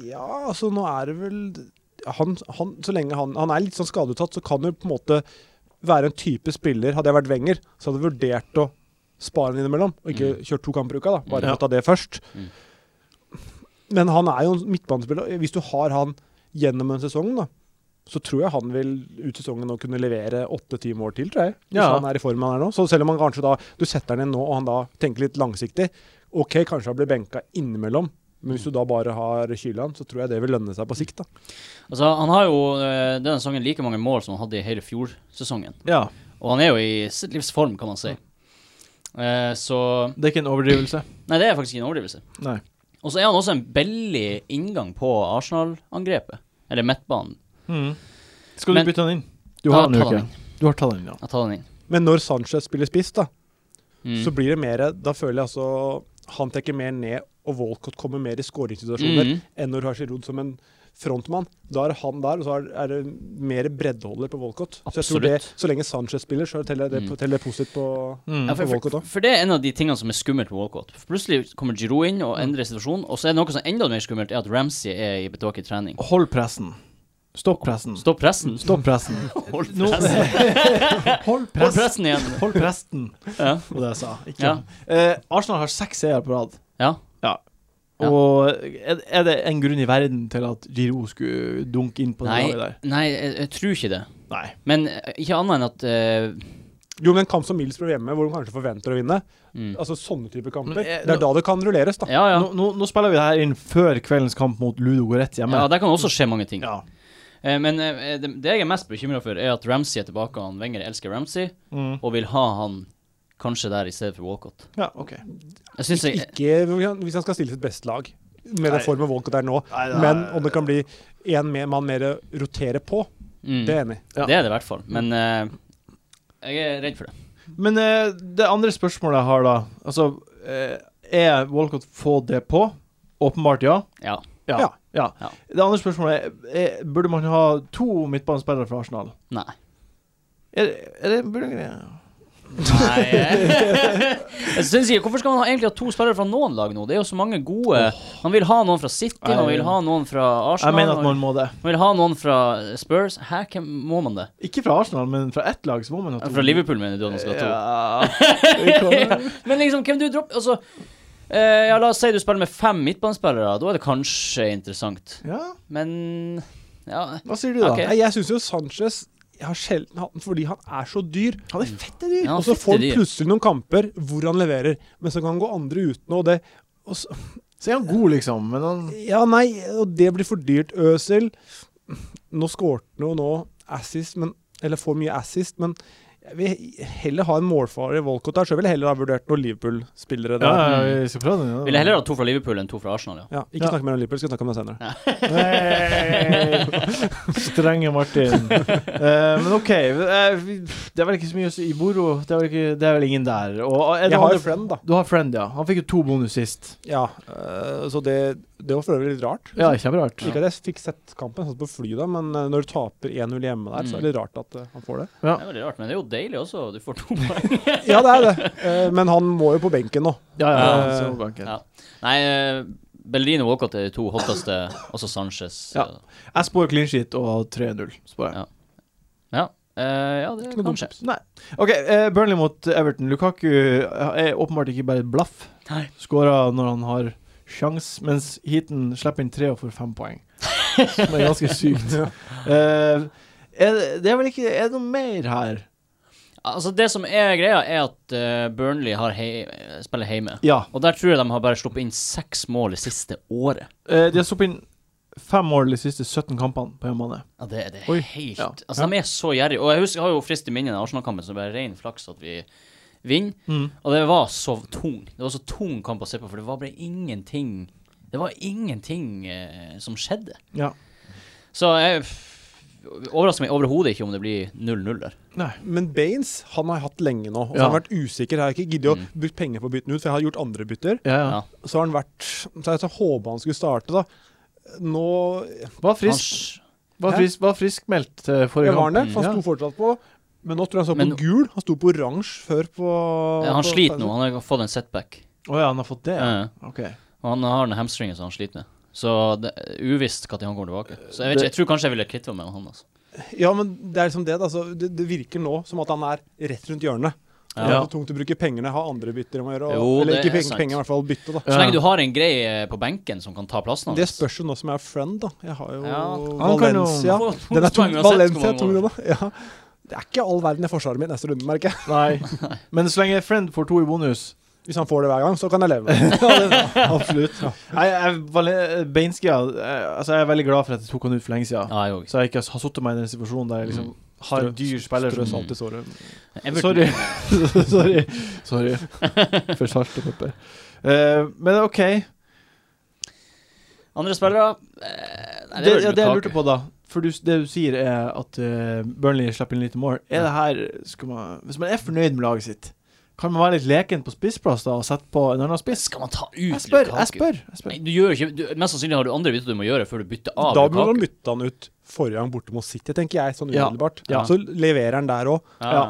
D: Ja, altså, nå er det vel han, han, Så lenge han, han er litt sånn skadeuttatt, så kan det på en måte være en type spiller Hadde jeg vært Wenger, så hadde jeg vurdert å spare han innimellom, og ikke kjørt to kamper i uka, da. Bare
A: Ja.
D: for å ta det først.
B: Mm.
D: Men han er jo en midtbanespiller. og Hvis du har han gjennom en sesong, da, så tror jeg han vil ut sesongen og kunne levere åtte-ti mål til, tror jeg. Hvis
A: Ja.
D: han er i form han er nå. Så selv om han kanskje da Du setter han inn nå, og han da tenker litt langsiktig. OK, kanskje han blir benka innimellom, men hvis du da bare har Kyland, så tror jeg det vil lønne seg på sikt, da.
B: Altså, han har jo eh, denne sesongen like mange mål som han hadde i hele fjorsesongen.
A: Ja,
B: Og han er jo i sitt livs form, kan man si. Eh, så
A: det er ikke en overdrivelse.
B: Nei, det er faktisk ikke en overdrivelse.
A: Nei.
B: Og så er han også en billig inngang på Arsenal-angrepet. Eller midtbanen.
A: Mm. Skal du
B: Men-
A: bytte den inn? Du
B: Ja,
A: har den
B: ta
A: jo
B: den
A: ikke. Du har tatt den inn, ja.
B: Jeg tar den inn.
D: Men når Sanchez spiller spiss, da,
B: Mm.
D: så blir det mer Da føler jeg altså Han trekker mer ned, og Walcott kommer mer i skåringssituasjoner
B: Mhm.
D: enn når du har Giroud som en frontmann. Da er han der, og så er- er det mer breddeholder på Walcott. Så jeg tror det,
B: Absolutt.
D: så lenge Sanchez spiller, så teller det,
B: Mm.
D: teller det positivt på
A: Mm.
B: Ja, for,
D: på Walcott
B: for,
D: også.
B: for det er en av de tingene som er skummelt med Walcott. For plutselig kommer Giroud inn og endrer
D: Mm.
B: situasjonen, og så er det noe som er enda mer skummelt, er at Ramsey er i betåket trening.
A: Hold pressen. Stopp pressen.
B: Stopp pressen.
A: Stopp pressen.
B: Hold
A: Nå-
B: pressen.
A: Hold
B: Hold
A: pressen.
B: pressen igjen.
A: Hold presten,
B: Ja.
A: var det jeg sa. Ikke.
B: Ja.
A: Eh, Arsenal har seks seier på rad.
B: ja. Ja.
A: Og er er det en grunn i verden til at Giro skulle dunke inn på det
B: Nei,
A: laget der?
B: nei jeg, jeg tror ikke det.
A: Nei.
B: Men eh, ikke annet enn at eh,
D: Jo, men en kamp som Middlesbrough hjemme, hvor de kanskje forventer å vinne,
B: mm.
D: altså sånne type kamper,
A: Men, eh,
D: det er da det kan rulleres, da.
B: Ja, ja.
A: Nå, nå, nå spiller vi det her inn før kveldens kamp mot Ludo Goretz hjemme.
B: Ja, der kan også skje mange ting.
A: Ja.
B: Eh, men eh, det, det jeg er mest bekymra for, er at Ramsey er tilbake. Han Wenger elsker Ramsey
A: Mm.
B: og vil ha han kanskje der i stedet for Walcott.
A: ja, OK.
B: Jeg synes jeg,
D: Ikke hvis han skal stille sitt beste lag, med
A: Nei.
D: den formen Walcott er nå.
A: Nei, det er-
D: Men om det kan bli én mer- mann mer å rotere på,
B: mm,
D: det
B: det,
D: er jeg enig i.
A: Ja.
B: er det i hvert fall. Men eh, jeg er redd for det.
A: Men eh, det andre spørsmålet jeg har, da Altså, eh, er Walcott få det på? Åpenbart ja.
B: Ja.
D: Ja.
A: ja.
B: Ja.
A: Det andre spørsmålet er, er Burde man ha to midtbanespillere fra Arsenal?
B: Nei.
A: Er, er det burde, ja.
B: Nei. jeg synes ikke, Hvorfor skal han ha, egentlig ha to spillere fra noen lag nå? Det er jo så mange gode. Han vil ha noen fra City, han
A: Nei.
B: vil ha noen fra
A: Jeg
B: Arsenal,
A: mener at
B: han vil-
A: man må det.
B: han vil ha noen fra Spurs. Hæ, hvem må man det?
A: Ikke fra Arsenal, men fra ett lag så må man ha to.
B: Fra Liverpool, mener du? at Han skal ha to.
A: Ja.
B: Men liksom, hvem du dropper Altså, Eh, ja, la oss si du spiller med fem midtbanespillere. Da er det kanskje interessant.
A: Ja,
B: Men ja.
A: hva sier du da?
B: Ok.
D: Nei, jeg syns jo Sanchez jeg har sjelden hatt den fordi han er så dyr.
A: Han er fette dyr!
B: Ja,
D: og så får
B: fette dyr.
D: han plutselig noen kamper hvor han leverer, men så kan han gå andre uten. Og det, og så,
A: Så er han god, liksom, men han
D: ja, nei, og det blir for dyrt. Øsel Nå skårte han jo nå assist, men, eller får mye assist, men jeg vil heller ha en målfarer i Walcott der, så jeg ville heller ha vurdert noen Liverpool-spillere
A: Ja,
D: der.
A: ja, vi skal prøve den. Ja.
B: Vil jeg heller ha to fra Liverpool enn to fra Arsenal, ja.
D: Ja, ikke
A: Ja.
D: snakk mer om Liverpool, skal snakke om det senere.
A: Nei, Strenge Martin. Eh, men OK. eh, vi- det er vel ikke så mye å si i Boro. Det er vel, ikke, det er vel ingen der. Og, eh, det
D: Jeg har
A: hadde-
D: jo friend, da.
A: Du har Friend, ja. Han fikk jo to bonus sist.
D: Ja, øh, så det, det var for øvrig litt rart.
A: Ja, kjemperart.
D: Ikke at jeg fikk sett kampen, jeg satt på fly da, men øh, når du taper 1-0 hjemme der,
B: Mm.
D: så er det litt rart at øh, han får det.
A: Ja.
B: Det er veldig rart, men det er jo deilig også. Du får to poeng.
D: Ja, det er det. Eh, Men han må jo på benken nå.
A: Ja, ja,
D: Eh,
A: så banken.
B: ja. Nei, eh, Bellerino og Walcott er de to hotteste, også Sanchez.
A: Ja.
B: eh,
A: Jeg spår clean sheet og 3-0, spår jeg.
B: Ja. ja. Eh, ja, det
D: Ikke noe
B: kan
D: dumt
B: skje.
A: Nei. OK, eh, Burnley mot Everton. Lukaku eh, er åpenbart ikke bare et blaff.
B: Nei.
A: Skåra når han har sjans, mens Heaton slipper inn tre og får fem poeng. Som er ganske sykt. Eh, er, det- det er vel ikke Er det noe mer her?
B: Altså, det som er greia, er at eh, Burnley har hei, eh, spiller hjemme.
A: Ja.
B: Og der tror jeg de har bare sluppet inn seks mål det siste året.
A: eh, de har stoppet inn fem mål de siste 17 kampene på hjemmebane.
B: Ja, det, det er
A: Oi,
B: helt
A: ja.
B: Altså, de er så gjerrige. Og jeg husker, jeg har jo frist i minnet den Arsenal-kampen, så det var ren flaks at vi vinner.
A: Mm.
B: Og det var så tung. Det var så tung kamp å se på, for det var bare ingenting Det var ingenting eh, som skjedde.
A: Ja.
B: Så jeg f- overrasker meg overhodet ikke om det blir 0-0 der.
A: Nei.
D: Men Baines han har jeg hatt lenge nå. Og så
A: Ja.
D: har han vært usikker. Jeg har ikke giddet å
B: Mm.
D: bruke penger på å bytte den ut, for jeg har gjort andre bytter.
A: Ja, ja.
B: Ja.
D: Så har han vært Så jeg håpa han skulle starte, da. Nå
A: Var frisk,
B: Hans-
A: var
D: Hæ?
A: frisk, var friskmeldt eh, forrige
D: jeg var han det,
A: gang.
D: for han sto fortsatt på Men nå tror jeg han
B: Men-
D: sto på gul. Han sto på oransje før på
B: Ja, eh, han
D: på-
B: sliter nå. Han har fått en setback.
A: Å ja, han har fått det? Ja.
B: Ja.
A: OK.
B: Og han har den hamstringen som han sliter med. Så det er uvisst når han kommer tilbake. Så jeg, vet ikke, jeg tror kanskje jeg ville kvittet meg med han. Altså.
D: Ja, men det er liksom det. Da. Så det, det virker nå som at han er rett rundt hjørnet.
B: Ja.
D: Det er så tungt å bruke pengene, ha andre bytter om å gjøre. Og,
B: Jo,
D: eller
B: det
D: ikke
B: er
D: penger,
B: sant.
D: penger, i hvert fall bytte, da.
B: Så lenge du har en grei eh, på benken som kan ta plassen
D: Det spørs jo nå som jeg er friend, da. Jeg har jo
B: Ja.
A: Han kan jo-
D: Valencia.
B: Han får to
D: Den er tung.
B: poeng uansett hvor
D: Valencia
B: mange
D: er tung, da. Ja. Det er ikke all verden i forsvaret mitt neste runde, merker jeg.
A: Nei. Men så lenge Friend får to i bonus
D: Hvis han får det hver gang, så kan jeg leve med det. Absolutt. Ja.
A: Nei, jeg, Valen- Beinskia eh, Altså, jeg er veldig glad for at jeg tok han ut for lenge siden.
B: Ja, jeg òg.
A: Så jeg ikke har satt meg i den situasjonen der jeg liksom har en dyr spiller som
D: Strø salt i såret.
A: Sorry. Sorry. Sorry. For salt og pepper. Eh, men OK.
B: Andre spillere eh, nei,
A: det,
B: er vel
A: ja, det jeg
B: Lukaku.
A: lurte på, da For du, det du sier, er at eh, Burnley slipper inn lite mål. Er det her skal man, Hvis man er fornøyd med laget sitt, kan man være litt leken på spissplass da og sette på en annen spiss?
B: Skal man ta ut
A: Jeg spør,
B: Lukaku?
A: jeg spør. Jeg spør.
B: Nei, du gjør jo ikke, du, mest sannsynlig har du andre bytter du må gjøre før du bytter av
D: Da burde han
B: Lukaku.
D: bytte han ut forrige gang borte mot City, tenker jeg, sånn
A: Ja.
D: umiddelbart.
A: Ja.
D: Så leverer han der òg.
A: ja.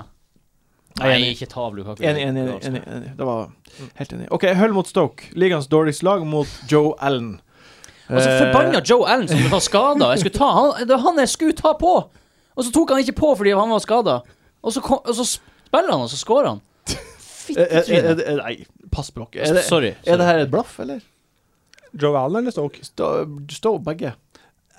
B: Nei, ikke ta av Lukaku.
A: Enig, enig, enig,
B: altså.
A: enig, enig. Det var helt enig. OK, Hull mot Stoke. Ligaens dårligste lag mot Joe Allen.
B: Og så
A: Eh,
B: forbanna Joe Allen som var skada. Jeg skulle ta han, det var han jeg skulle ta på! Og så tok han ikke på fordi han var skada. Og, så kom- og så spiller han, og så scorer han.
A: er- er- er-
B: Fittetryne.
A: er- er- eh, Nei, pass på dere. Er det-
B: Sorry.
A: Er det
B: sorry.
A: her et blaff, eller?
D: Joe Allen eller Stoke?
A: Stå begge.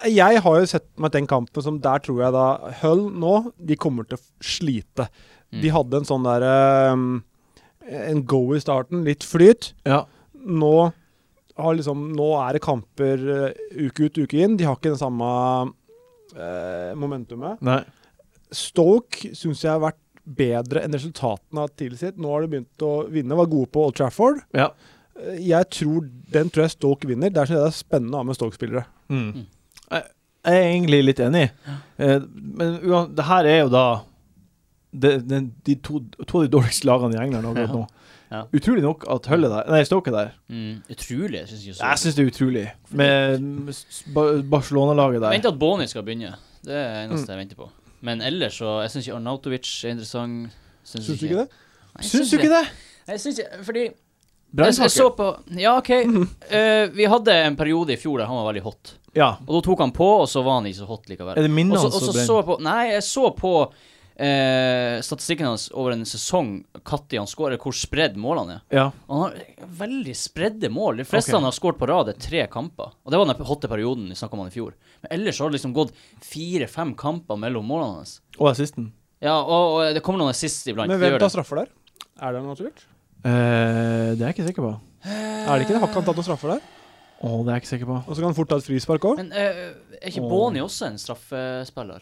D: Jeg har jo sett meg den kampen som der tror jeg da Hull nå, de kommer til å slite. De hadde en sånn derre En go i starten, litt flyt.
A: Ja.
D: nå har liksom, nå er det kamper eh, uke ut, uke inn. De har ikke det samme eh, momentumet.
A: Nei.
D: Stoke syns jeg har vært bedre enn resultatene har tilsitt. Nå har de begynt å vinne, var gode på Old Trafford.
A: Ja.
D: Eh, Jeg tror, Den tror jeg Stoke vinner. Der synes jeg det er spennende å ha med Stoke-spillere.
A: Mm. Jeg jeg er egentlig litt enig, Eh, men uan- det her er jo da det, den- de to, to av de dårligste lagene i England akkurat nå.
B: Ja.
A: Utrolig nok at Hull er der. Nei, Stoke er der.
B: Mm, utrolig, jeg syns ikke så
A: Jeg syns det er utrolig. Med med s- Ba- Barcelona-laget
B: Jeg
A: der.
B: venter at Boni skal begynne. Det er
A: Mm.
B: det eneste jeg venter på. Men ellers så Jeg syns ikke Arnautovic er interessant.
D: Syns du ikke det?
B: Nei, jeg
A: Syns du ikke det?
B: Jeg syns ikke Fordi jeg, jeg
A: Brannsaker.
B: så på Ja, OK.
A: Mm.
B: Eh, vi hadde en periode i fjor der han var veldig hot.
A: Ja.
B: Og da tok han på, og så var han ikke så hot likevel.
A: Er det minnene
B: Og så-
A: hans
B: og
A: som
B: så
A: brenner?
B: så jeg på Nei, jeg så på eh, eh, statistikken hans over en sesong, når han skårer, hvor spredd målene er.
A: Ja.
B: Han har veldig spredde mål. De fleste
A: Ok.
B: han har skåret på rad, er tre kamper. Og det var den hotte perioden vi snakka om han i fjor. Men ellers har det liksom gått fire-fem kamper mellom målene hans.
A: Og assisten.
B: Ja, og, og det kommer noen assist iblant.
D: Men
B: det
D: hvem
B: gjør
D: tar
B: det.
D: straffer der? Er det noe naturlig?
A: Eh, det er jeg ikke sikker på.
D: Er det ikke det? Har ikke han tatt noen straffer der?
A: Å, det er jeg ikke sikker på.
D: Og så kan han fort ta et frispark òg.
B: Men eh, er ikke
A: Åh.
B: Boni også en straffespiller?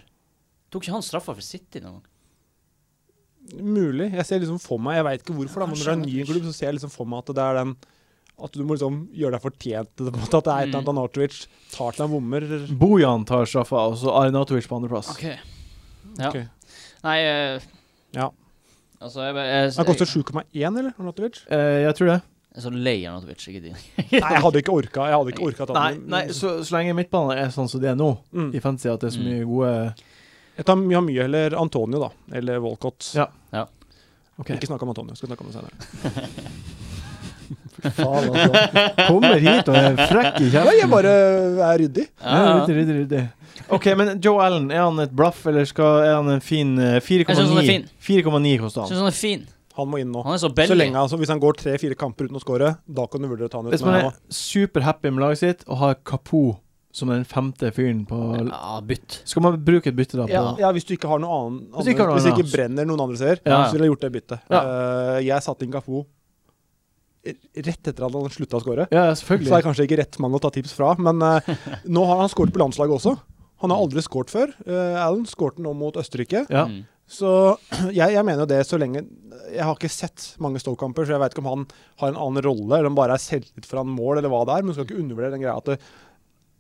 B: Tok ikke han straffa for City noen gang?
D: Mulig. Jeg ser liksom for meg Jeg veit ikke hvorfor, da, men når det er en ny
B: Kanskje.
D: klubb, så ser jeg liksom for meg at det er den At du må liksom gjøre deg fortjent til det, på en måte. At det er
B: Mm.
D: et eller annet Arnautovic tar til han bommer.
A: Bojan tar straffa, og så Arinatovic på andreplass.
B: Ok. Ja.
D: Ok.
B: Nei eh,
D: Ja.
B: Altså, jeg, bare- jeg,
D: Han koster
B: jeg,
D: 7,1, eller? Arnautovic?
A: Eh, jeg tror det.
B: jeg er så lei av Arnatovic, ikke din.
D: Nei, jeg hadde ikke orka. Jeg hadde ikke orka å ta
A: Nei,
D: den.
A: nei så, så lenge midtbanen er sånn som de er nå,
D: Mm.
A: i fantasy, at det er så mye gode
D: Jeg tar mye, mye heller Antonio, da. Eller Walcott.
A: Ja.
D: Ok.
A: Ok.
D: Ikke snakk om Antonio. Skal snakke om det senere.
A: Faen, altså. Kommer hit og er frekk i
D: Nei, jeg
A: kjeften.
D: bare er ryddig.
A: Ja, ryddig, ryddig, ryddig. OK, men Joe Allen, er han et blaff, eller skal, er han en fin eh, 4,9?
B: Jeg synes han er fin.
A: 4,9 koster han.
B: Syns han er fin.
D: Han må inn nå.
B: Han er så
D: Så
B: belly.
D: lenge han, så Hvis han går tre-fire kamper uten å score, da kan du vurdere å ta han ut.
A: Hvis man
D: Men
A: er superhappy med laget sitt og har Kapo som den femte fyren på
B: Ja, bytt.
A: Skal man bruke et bytte da på
D: Ja, ja, hvis du ikke har noe annen
A: Hvis du ikke har noe
D: Hvis det
A: annet.
D: ikke brenner noen andre steder,
B: Ja.
D: så ville jeg gjort det byttet.
A: Ja.
D: Eh, jeg satte inn Gafo rett etter at han slutta å score.
A: Ja,
D: Så er jeg
A: selvfølgelig.
D: kanskje ikke rett mann å ta tips fra, men eh, nå har han skåret på landslaget også. Han har aldri skåret før. Uh, Allen skårte nå mot Østerrike.
A: Ja.
B: Mm.
D: Så jeg, jeg mener jo det så lenge Jeg har ikke sett mange Stoke-kamper, så jeg vet ikke om han har en annen rolle, eller om bare er selvtillit foran mål, eller hva det er. Men du skal ikke undervurdere den greia at det,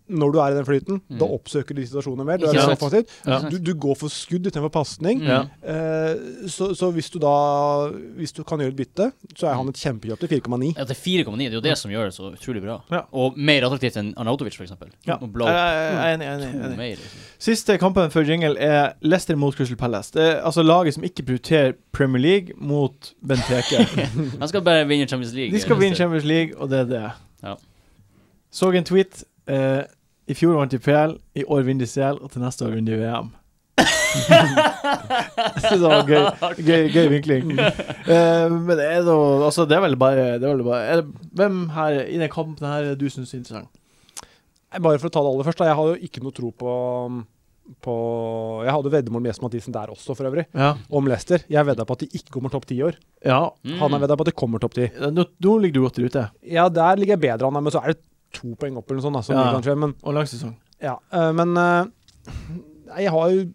D: når du er i den flyten,
B: Mm.
D: da oppsøker du de situasjonene mer. Du,
B: Ikke
D: er mer
B: sant.
D: offensiv.
A: Ja.
D: du, du går for skudd istedenfor pasning.
B: Mm.
A: Ja.
D: Eh, så, så hvis du da Hvis du kan gjøre et bytte, så er han et kjempekjøp til 4,9.
B: Ja, til 4,9. Det er jo det som gjør det så utrolig bra.
A: Ja.
B: Og mer attraktivt enn Arnautovic, for eksempel.
A: Ja.
B: Og
A: Jeg
B: Blow.
A: jeg er enig. jeg er enig,
B: To
A: enig.
B: mer, liksom.
A: Siste kampen før jingle er Leicester mot Crystal Palace. Det er altså laget som ikke prioriterer Premier League mot Benteke.
B: Han skal bare vinne Champions League. liksom.
A: De skal vinne
B: Champions
A: Champions League, og det er det.
B: Ja.
A: Så en tweet. Eh, I fjor vant de PL, i år vinner de CL, og til neste år vinner de VM. Så det var gøy, gøy, gøy vinkling. Eh, men det er da Altså, det er vel bare, det er vel bare er det, Hvem her i den kampen her er du syns er interessant?
D: Nei, Bare for å ta det aller først, da. Jeg har jo ikke noe tro på på, jeg hadde veddemål med Jesper Mathisen der også, for øvrig,
A: Ja.
D: om Leicester. Jeg vedda på at de ikke kommer topp ti i år.
A: ja.
B: Mm.
D: Han er vedda på at de kommer topp ti.
A: Nå, nå ligger du godt ute,
D: Ja, der ligger jeg bedre an, men så er det to poeng opp eller noe sånt. da, som
A: Ja.
D: ligger kanskje, men,
A: og lang sesong.
D: ja. eh, men eh, nei, jeg har jo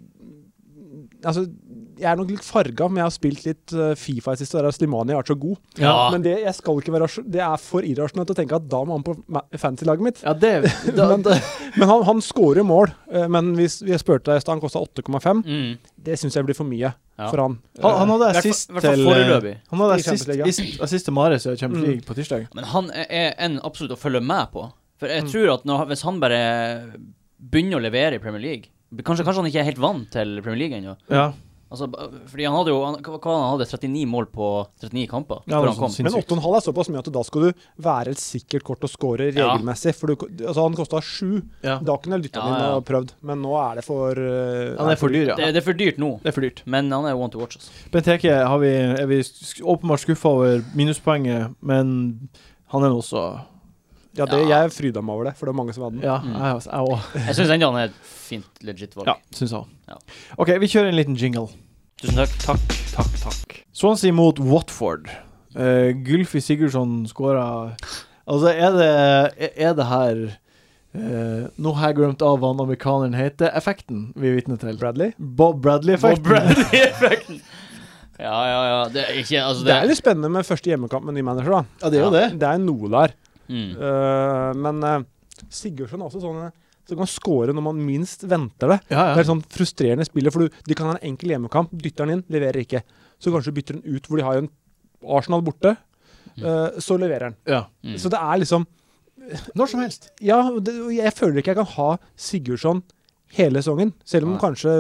D: Altså, jeg er nok litt farga, men jeg har spilt litt eh, Fifa i det siste, og der er Slimani har vært så god.
B: Ja.
D: Men det, jeg skal ikke være, rasjon- det er for irrasjonelt å tenke at da må han på ma- fantasy-laget mitt.
A: Ja, det da,
D: Men-
A: da,
D: Men han, han scorer mål. eh, Men hvis jeg spurte deg i stad, han kosta 8,5.
B: Mm.
D: Det syns jeg blir for mye
B: Ja.
D: for han.
A: han, han hadde
B: Hvertfall-
A: assist
B: hvertfall
A: til eh,
B: foreløpig.
A: Han hadde
D: I Champions
A: assist,
D: League, ja.
A: assist, assist til Mares i Champions
D: Mm.
A: League på tirsdag.
B: Men han er- er en absolutt å følge med på.
A: Mm.
B: For jeg tror at når, hvis han bare begynner å levere i Premier League Kanskje, kanskje han ikke er helt vant til Premier League ennå.
A: Ja.
B: Altså, b- fordi han hadde jo han, hva, hva han hadde 39 mål på 39 kamper
A: Ja, det
B: før han
A: var
B: kom.
A: sånn
D: Men 8,5 er såpass mye at da skal du være et sikkert kort og score
B: Ja.
D: regelmessig. For du, altså han kosta 7.
A: Ja.
D: Da kunne jeg lytta
B: Ja,
D: inn
B: ja.
D: og prøvd, men nå er det for eh,
A: Han er for dyr, ja.
B: Det, det er for dyrt nå,
A: Det er for dyrt.
B: men han er one to watch. Altså.
A: Benteke har vi, er vi sk- åpenbart skuffa over minuspoenget, men han er nå også
D: Ja, det,
B: Ja.
D: jeg fryda meg over det, for det var mange som hadde den.
A: Ja,
B: Mm.
A: jeg også- jeg òg.
B: Jeg syns ennå han er et fint, legit valg.
A: Ja, syns jeg òg.
B: Ja.
A: OK, vi kjører en liten jingle.
B: Tusen takk. Takk, takk, takk.
A: Swansea mot Watford. Uh, Gylfi Sigurdsson skåra Altså, er det, er det her eh, Nå har jeg glemt av hva han amerikaneren heter. Effekten vi er vitne til.
D: Bradley.
A: Bob Bradley-effekten.
B: Bradley-effekten. Ja, ja, ja. Det er ikke Altså,
D: Det er litt spennende med første hjemmekamp med ny manager, da.
A: ja, det er jo det.
D: Det er noe der.
B: mm.
D: Eh, men eh, Sigurdsson er også sånn eh, som kan score når man minst venter det.
A: Ja,
D: Det er
A: ja.
D: et sånn frustrerende spiller, for du, de kan ha en enkel hjemmekamp, dytter den inn, leverer ikke. Så kanskje du bytter den ut hvor de har en Arsenal borte, eh, så leverer den.
A: ja.
B: Mm.
D: Så det er liksom
A: Når som helst.
D: Ja, og det, og jeg føler ikke jeg kan ha Sigurdsson hele sesongen, selv om
B: Nei.
D: kanskje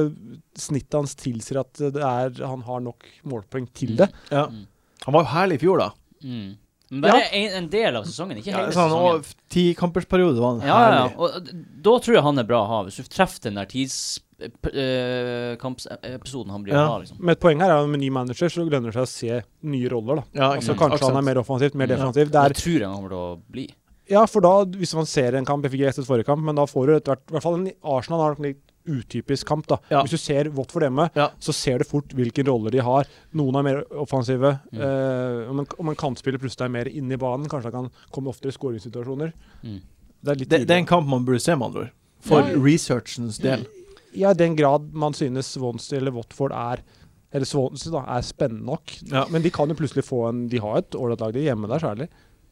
D: snittet hans tilsier at det er, han har nok målpoeng til det.
A: Ja.
B: Mm.
A: Han var jo herlig i fjor, da.
B: Mm. Men bare en, en del av sesongen, ikke hele
A: Ja, sånn,
B: sesongen.
A: og Ti kampersperiode var han
B: Ja, ja, ja.
A: herlig.
B: Og d- da tror jeg han er bra å ha. Hvis du treffer den der tids, eh, p- eh, kampsepisoden han blir
A: Ja.
B: å ha, liksom.
D: Men et poeng her er jo med ny manager så lønner det seg å se nye roller. da.
A: Ja,
D: Så kanskje han er mer offensivt, mer
B: mm, Ja.
D: defensivt. Det
B: Det
D: er,
B: tror jeg han kommer til å bli.
D: ja, for da, hvis man ser en kamp Jeg fikk ikke sett forrige kamp, men da får du etter hvert i hvert fall en Arsenal har en litt utypisk kamp. da.
A: Ja.
D: Hvis du ser Watford hjemme,
A: Ja.
D: så ser du fort hvilke roller de har. Noen er mer offensive.
B: Mm.
D: eh, om, en, om en kantspiller plutselig er mer inne i banen, kanskje han kan komme oftere i skåringssituasjoner.
B: Mm.
D: Det er litt
A: det, det er
D: tidlig.
A: en kamp man burde se, med andre ord. For
D: Ja.
A: researchens del.
D: Ja, i den grad man synes Swansea eller Watford er eller Swansea da, er spennende nok.
A: Ja.
D: Men de kan jo plutselig få en De har et ålreit lag, de er hjemme der særlig.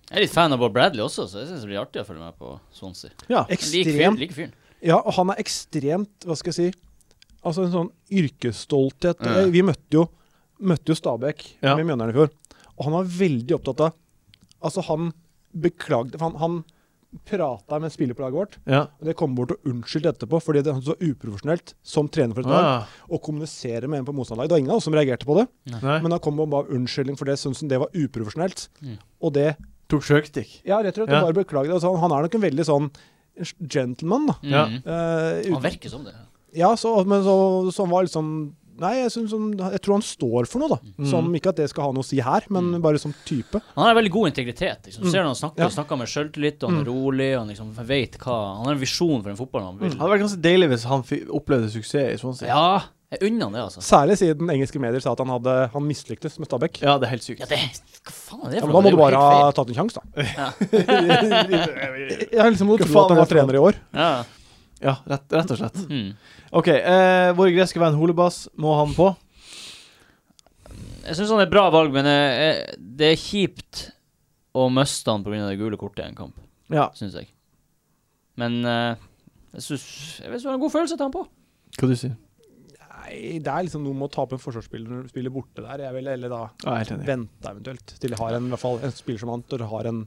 B: Jeg er litt fan av Bob Bradley også, så jeg syns det blir artig å følge med på Swansea.
A: Ja.
B: Like fyren. Like fyren.
D: Ja, og han er ekstremt, hva skal jeg si Altså en sånn yrkesstolthet.
B: Ja.
D: Eh, Vi møtte jo, møtte jo Stabæk
A: Ja.
D: med Mjøndalen i fjor, og han var veldig opptatt av Altså, han beklagde for Han, han prata med en spiller på laget vårt,
A: ja.
D: og det kom bort og unnskyldte etterpå fordi det var så uprofesjonelt som trener for et lag
A: Ah,
D: å kommunisere med en på motstanderlaget. Det var ingen av oss som reagerte på det,
A: nei.
D: men da kom han bare unnskyldning for det, syntes han det var uprofesjonelt,
B: Mm.
D: og det
A: Tok sjøkstikk.
D: Ja, rett og slett,
A: Ja.
D: bare beklagde. Altså, han er nok en veldig sånn gentleman, da.
A: Ja.
B: Mhm.
D: Eh,
B: Han virker som det.
D: Ja, så, men så, så han var liksom Nei, jeg, synes han, jeg tror han står for noe, da.
A: Mm.
D: Som ikke at det skal ha noe å si her, men
B: Mm.
D: bare som type.
B: Han har veldig god integritet. Liksom. Du Ser når han snakker,
D: Ja.
B: snakker med selvtillit, og han er rolig, og han liksom vet hva Han har en visjon for den fotballen han
A: Det
B: vil.
A: hadde vært ganske deilig hvis han fi- opplevde suksess i Swansea.
B: Ja, jeg unner han det, altså.
D: Særlig siden engelske medier sa at han, hadde, han mislyktes med Stabæk. Ja,
A: Ja, det er helt sykt.
B: Ja, det Hva faen er det for noe?
D: men da må
B: Det er jo
D: du bare
B: helt feil.
D: ha tatt en sjanse, da.
A: ja,
D: Jeg har liksom må
A: Hva
D: tro
A: faen
D: at han
A: er
D: var
A: det for
D: trener i år.
B: Ja.
A: rett, rett og slett.
B: Mm.
A: OK. Eh, vår greske venn Holebass, må han på?
B: Jeg syns han er et bra valg, men jeg, jeg, det er kjipt å miste han pga. det gule kortet i en kamp,
A: Ja.
B: syns jeg. Men eh, jeg syns Jeg vet ikke, det var en god følelse å ta han på.
A: Hva du sier
D: Nei, det er liksom noe med å tape en forsvarsspiller når du spiller borte der. Jeg vil heller da
A: Ja, helt enig.
D: vente eventuelt til de har en, i hvert fall, en spiller som han til de har en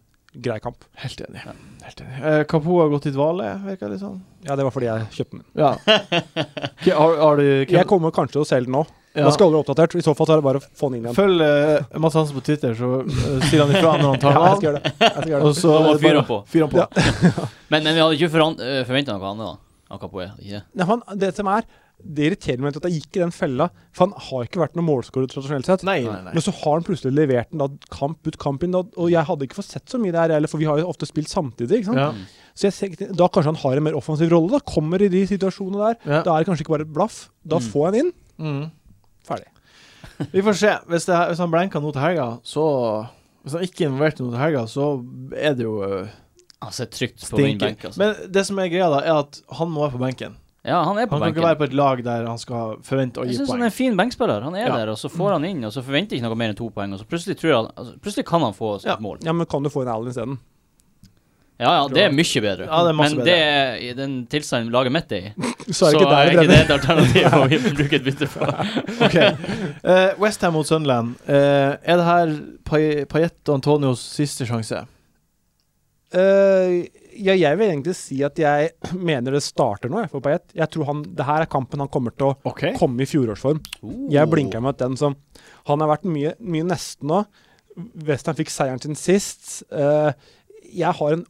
D: grei kamp.
A: Helt enig. Helt enig. Eh, Kapo har gått i dvale, virker det sånn.
D: Ja, det var fordi jeg kjøpte den.
A: Ja. K- Har, har du
D: Jeg kommer kanskje til å selge den nå.
A: Ja.
D: Da skal du være oppdatert. I så fall så er det bare å få den inn igjen.
A: Følg eh, Mads Hansen på Twitter, så eh, sier han ifra når han tar
D: Ja,
A: den
D: jeg skal
A: av.
D: gjøre det. Jeg skal gjøre det.
A: Og så
B: Da
A: er
B: må
A: det
B: fyre
A: bare
B: han på.
A: å fyre han på.
D: Ja.
B: Men, men vi hadde ikke foran, eh, forventet noe annet, da. Akapoe. Ikke? det?
D: Nei, for han, det som er, det irriterer meg litt at jeg gikk i den fella, for han har ikke vært noen målskårer tradisjonelt sett.
A: Nei, nei, nei.
D: Men så har han plutselig levert den da, kamp ut kamp inn, da, og jeg hadde ikke fått sett så mye der heller, for vi har jo ofte spilt samtidig. ikke sant?
A: Ja.
D: Så jeg tenkte, Da kanskje han har en mer offensiv rolle. da, Kommer i de situasjonene der.
A: Ja.
D: Da er det kanskje ikke bare et blaff. Da
B: Mm.
D: får jeg den inn.
A: Mm.
D: Ferdig.
A: Vi får se. Hvis, det, hvis han blenker nå til helga, så Hvis han ikke er involvert nå til helga, så er det jo eh,
B: Han sitter trygt på min
A: stinker.
B: benk, altså.
A: Men det som er greia, da, er at han må være på benken.
B: ja, han er på
A: Han kan
B: benken.
A: ikke være på et lag der han skal forvente å
B: Jeg
A: gi
B: syns han
A: poeng.
B: er en fin benkspiller. Han er
A: Ja.
B: der, og så får han inn, og så forventer ikke noe mer enn to poeng, og så plutselig, tror jeg, han- altså, plutselig kan han få sitt
A: Ja.
B: mål.
D: Ja, Men kan du få en Allen isteden?
B: Ja, ja, det er
A: Tror jeg.
B: mye bedre.
A: Ja, det er masse
B: men
A: bedre.
B: det er i den tilstanden laget mitt er i,
D: Så er det ikke der det
B: ikke det
D: brenner.
B: et alternativ å bruke et bytte på.
A: Ok. Eh, West Ham mot Sunderland. Eh, er det her Pay- Payet og Antonios siste sjanse?
D: Eh, ja, jeg vil egentlig si at jeg mener det starter nå, jeg, for Payet. Jeg tror han, det her er kampen han kommer til å
A: OK.
D: komme i fjorårsform.
A: Oh.
D: Jeg blinka med at den som Han har vært mye, mye nesten nå. Western fikk seieren sin sist. Eh, jeg har en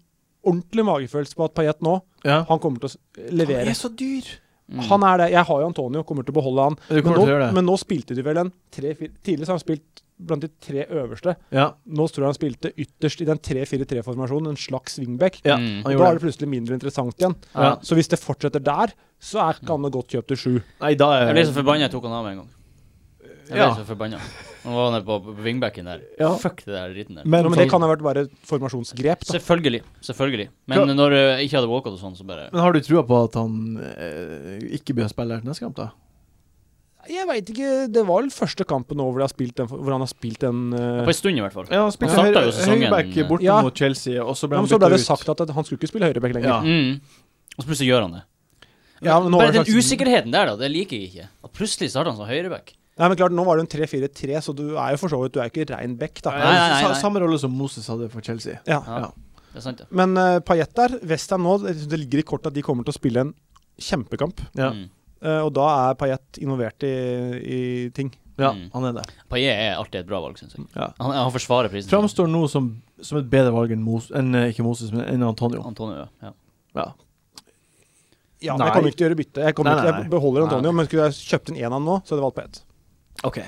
D: ordentlig magefølelse på at Payet nå
A: Ja.
D: Han kommer til å s-
A: Han
D: levere.
A: er så dyr.
B: Mm.
D: Han er det. Jeg har jo Antonio, kommer til å beholde han.
A: Du
D: Men
A: kommer til å gjøre
D: nå,
A: det.
D: men nå spilte de vel en tre-fire Tidligere så har han spilt blant de tre øverste.
A: Ja,
D: Nå tror jeg han spilte ytterst i den 3-4-3-formasjonen, en slags wingback.
A: ja han
B: Mm.
D: Da
A: gjorde
D: er det plutselig mindre interessant igjen.
B: ja.
A: Ja.
D: Så hvis det fortsetter der, så er ikke han noe godt kjøpt til sju.
A: det. Nei, da
B: Jeg
A: er
B: ble så forbanna jeg tok han av med en gang. Jeg ble
A: Ja.
B: så forbanna. Nå var han på på wingbacken der.
A: Ja.
B: Fuck det der dritten der.
A: Men-
D: Men, sånn- men det kan ha vært bare formasjonsgrep. Da.
B: Selvfølgelig. Selvfølgelig.
A: Klar.
B: Men når eh, jeg ikke hadde walkout og sånn, så bare
A: Men har du trua på at han eh, ikke blir å spille her til neste kamp, da?
D: Jeg veit ikke. Det var vel første kampen nå hvor, de har spilt den, hvor han har spilt den eh,
B: På en stund, i hvert fall.
A: Ja, han
B: spilte Han startet høyre- jo sesongen-
A: høyreback
B: høyreback borte
A: borte
D: Ja.
A: mot Chelsea, og så
D: ja,
A: ble han
D: men Så ble
A: bytta
D: det
A: ut.
D: sagt at at han skulle ikke spille høyrebekk lenger.
A: Ja.
B: Mm. Og så plutselig gjør han det.
D: Ja, men nå var
B: Bare
D: det
B: den
D: faktisk-
B: usikkerheten der, da. Det liker jeg ikke. At plutselig starter han som høyreback.
D: Nei, men klart, Nå var det en 3-4-3, så du er jo for så vidt Du er ikke rein bekk, da.
A: Nei,
B: Nei, nei, nei,
A: sa-
B: nei.
A: Samme rolle som Moses hadde for Chelsea.
D: Ja.
B: Ja.
A: Ja.
B: Det er sant, ja.
D: Men uh, Payet der, Westham nå, det det ligger i kortet at de kommer til å spille en kjempekamp.
A: Ja,
B: Mm.
D: Eh, og da er Payet involvert i, i ting.
A: ja
B: Mm.
A: han er det.
B: Paillet er alltid et bra valg, syns jeg.
A: Ja.
B: Han, han forsvarer prisen. sin.
A: Framstår nå som, som et bedre valg enn Mos, enn, eh, ikke Moses, men enn Antonio.
B: Antonio, ja.
A: Ja.
D: Ja, men jeg kommer ikke til å gjøre bytte. Jeg, kommer
A: Nei,
D: ikke,
A: nei,
D: jeg beholder
A: nei.
D: Antonio, men skulle jeg kjøpt inn én av han nå, så hadde jeg valgt på ett.
A: OK.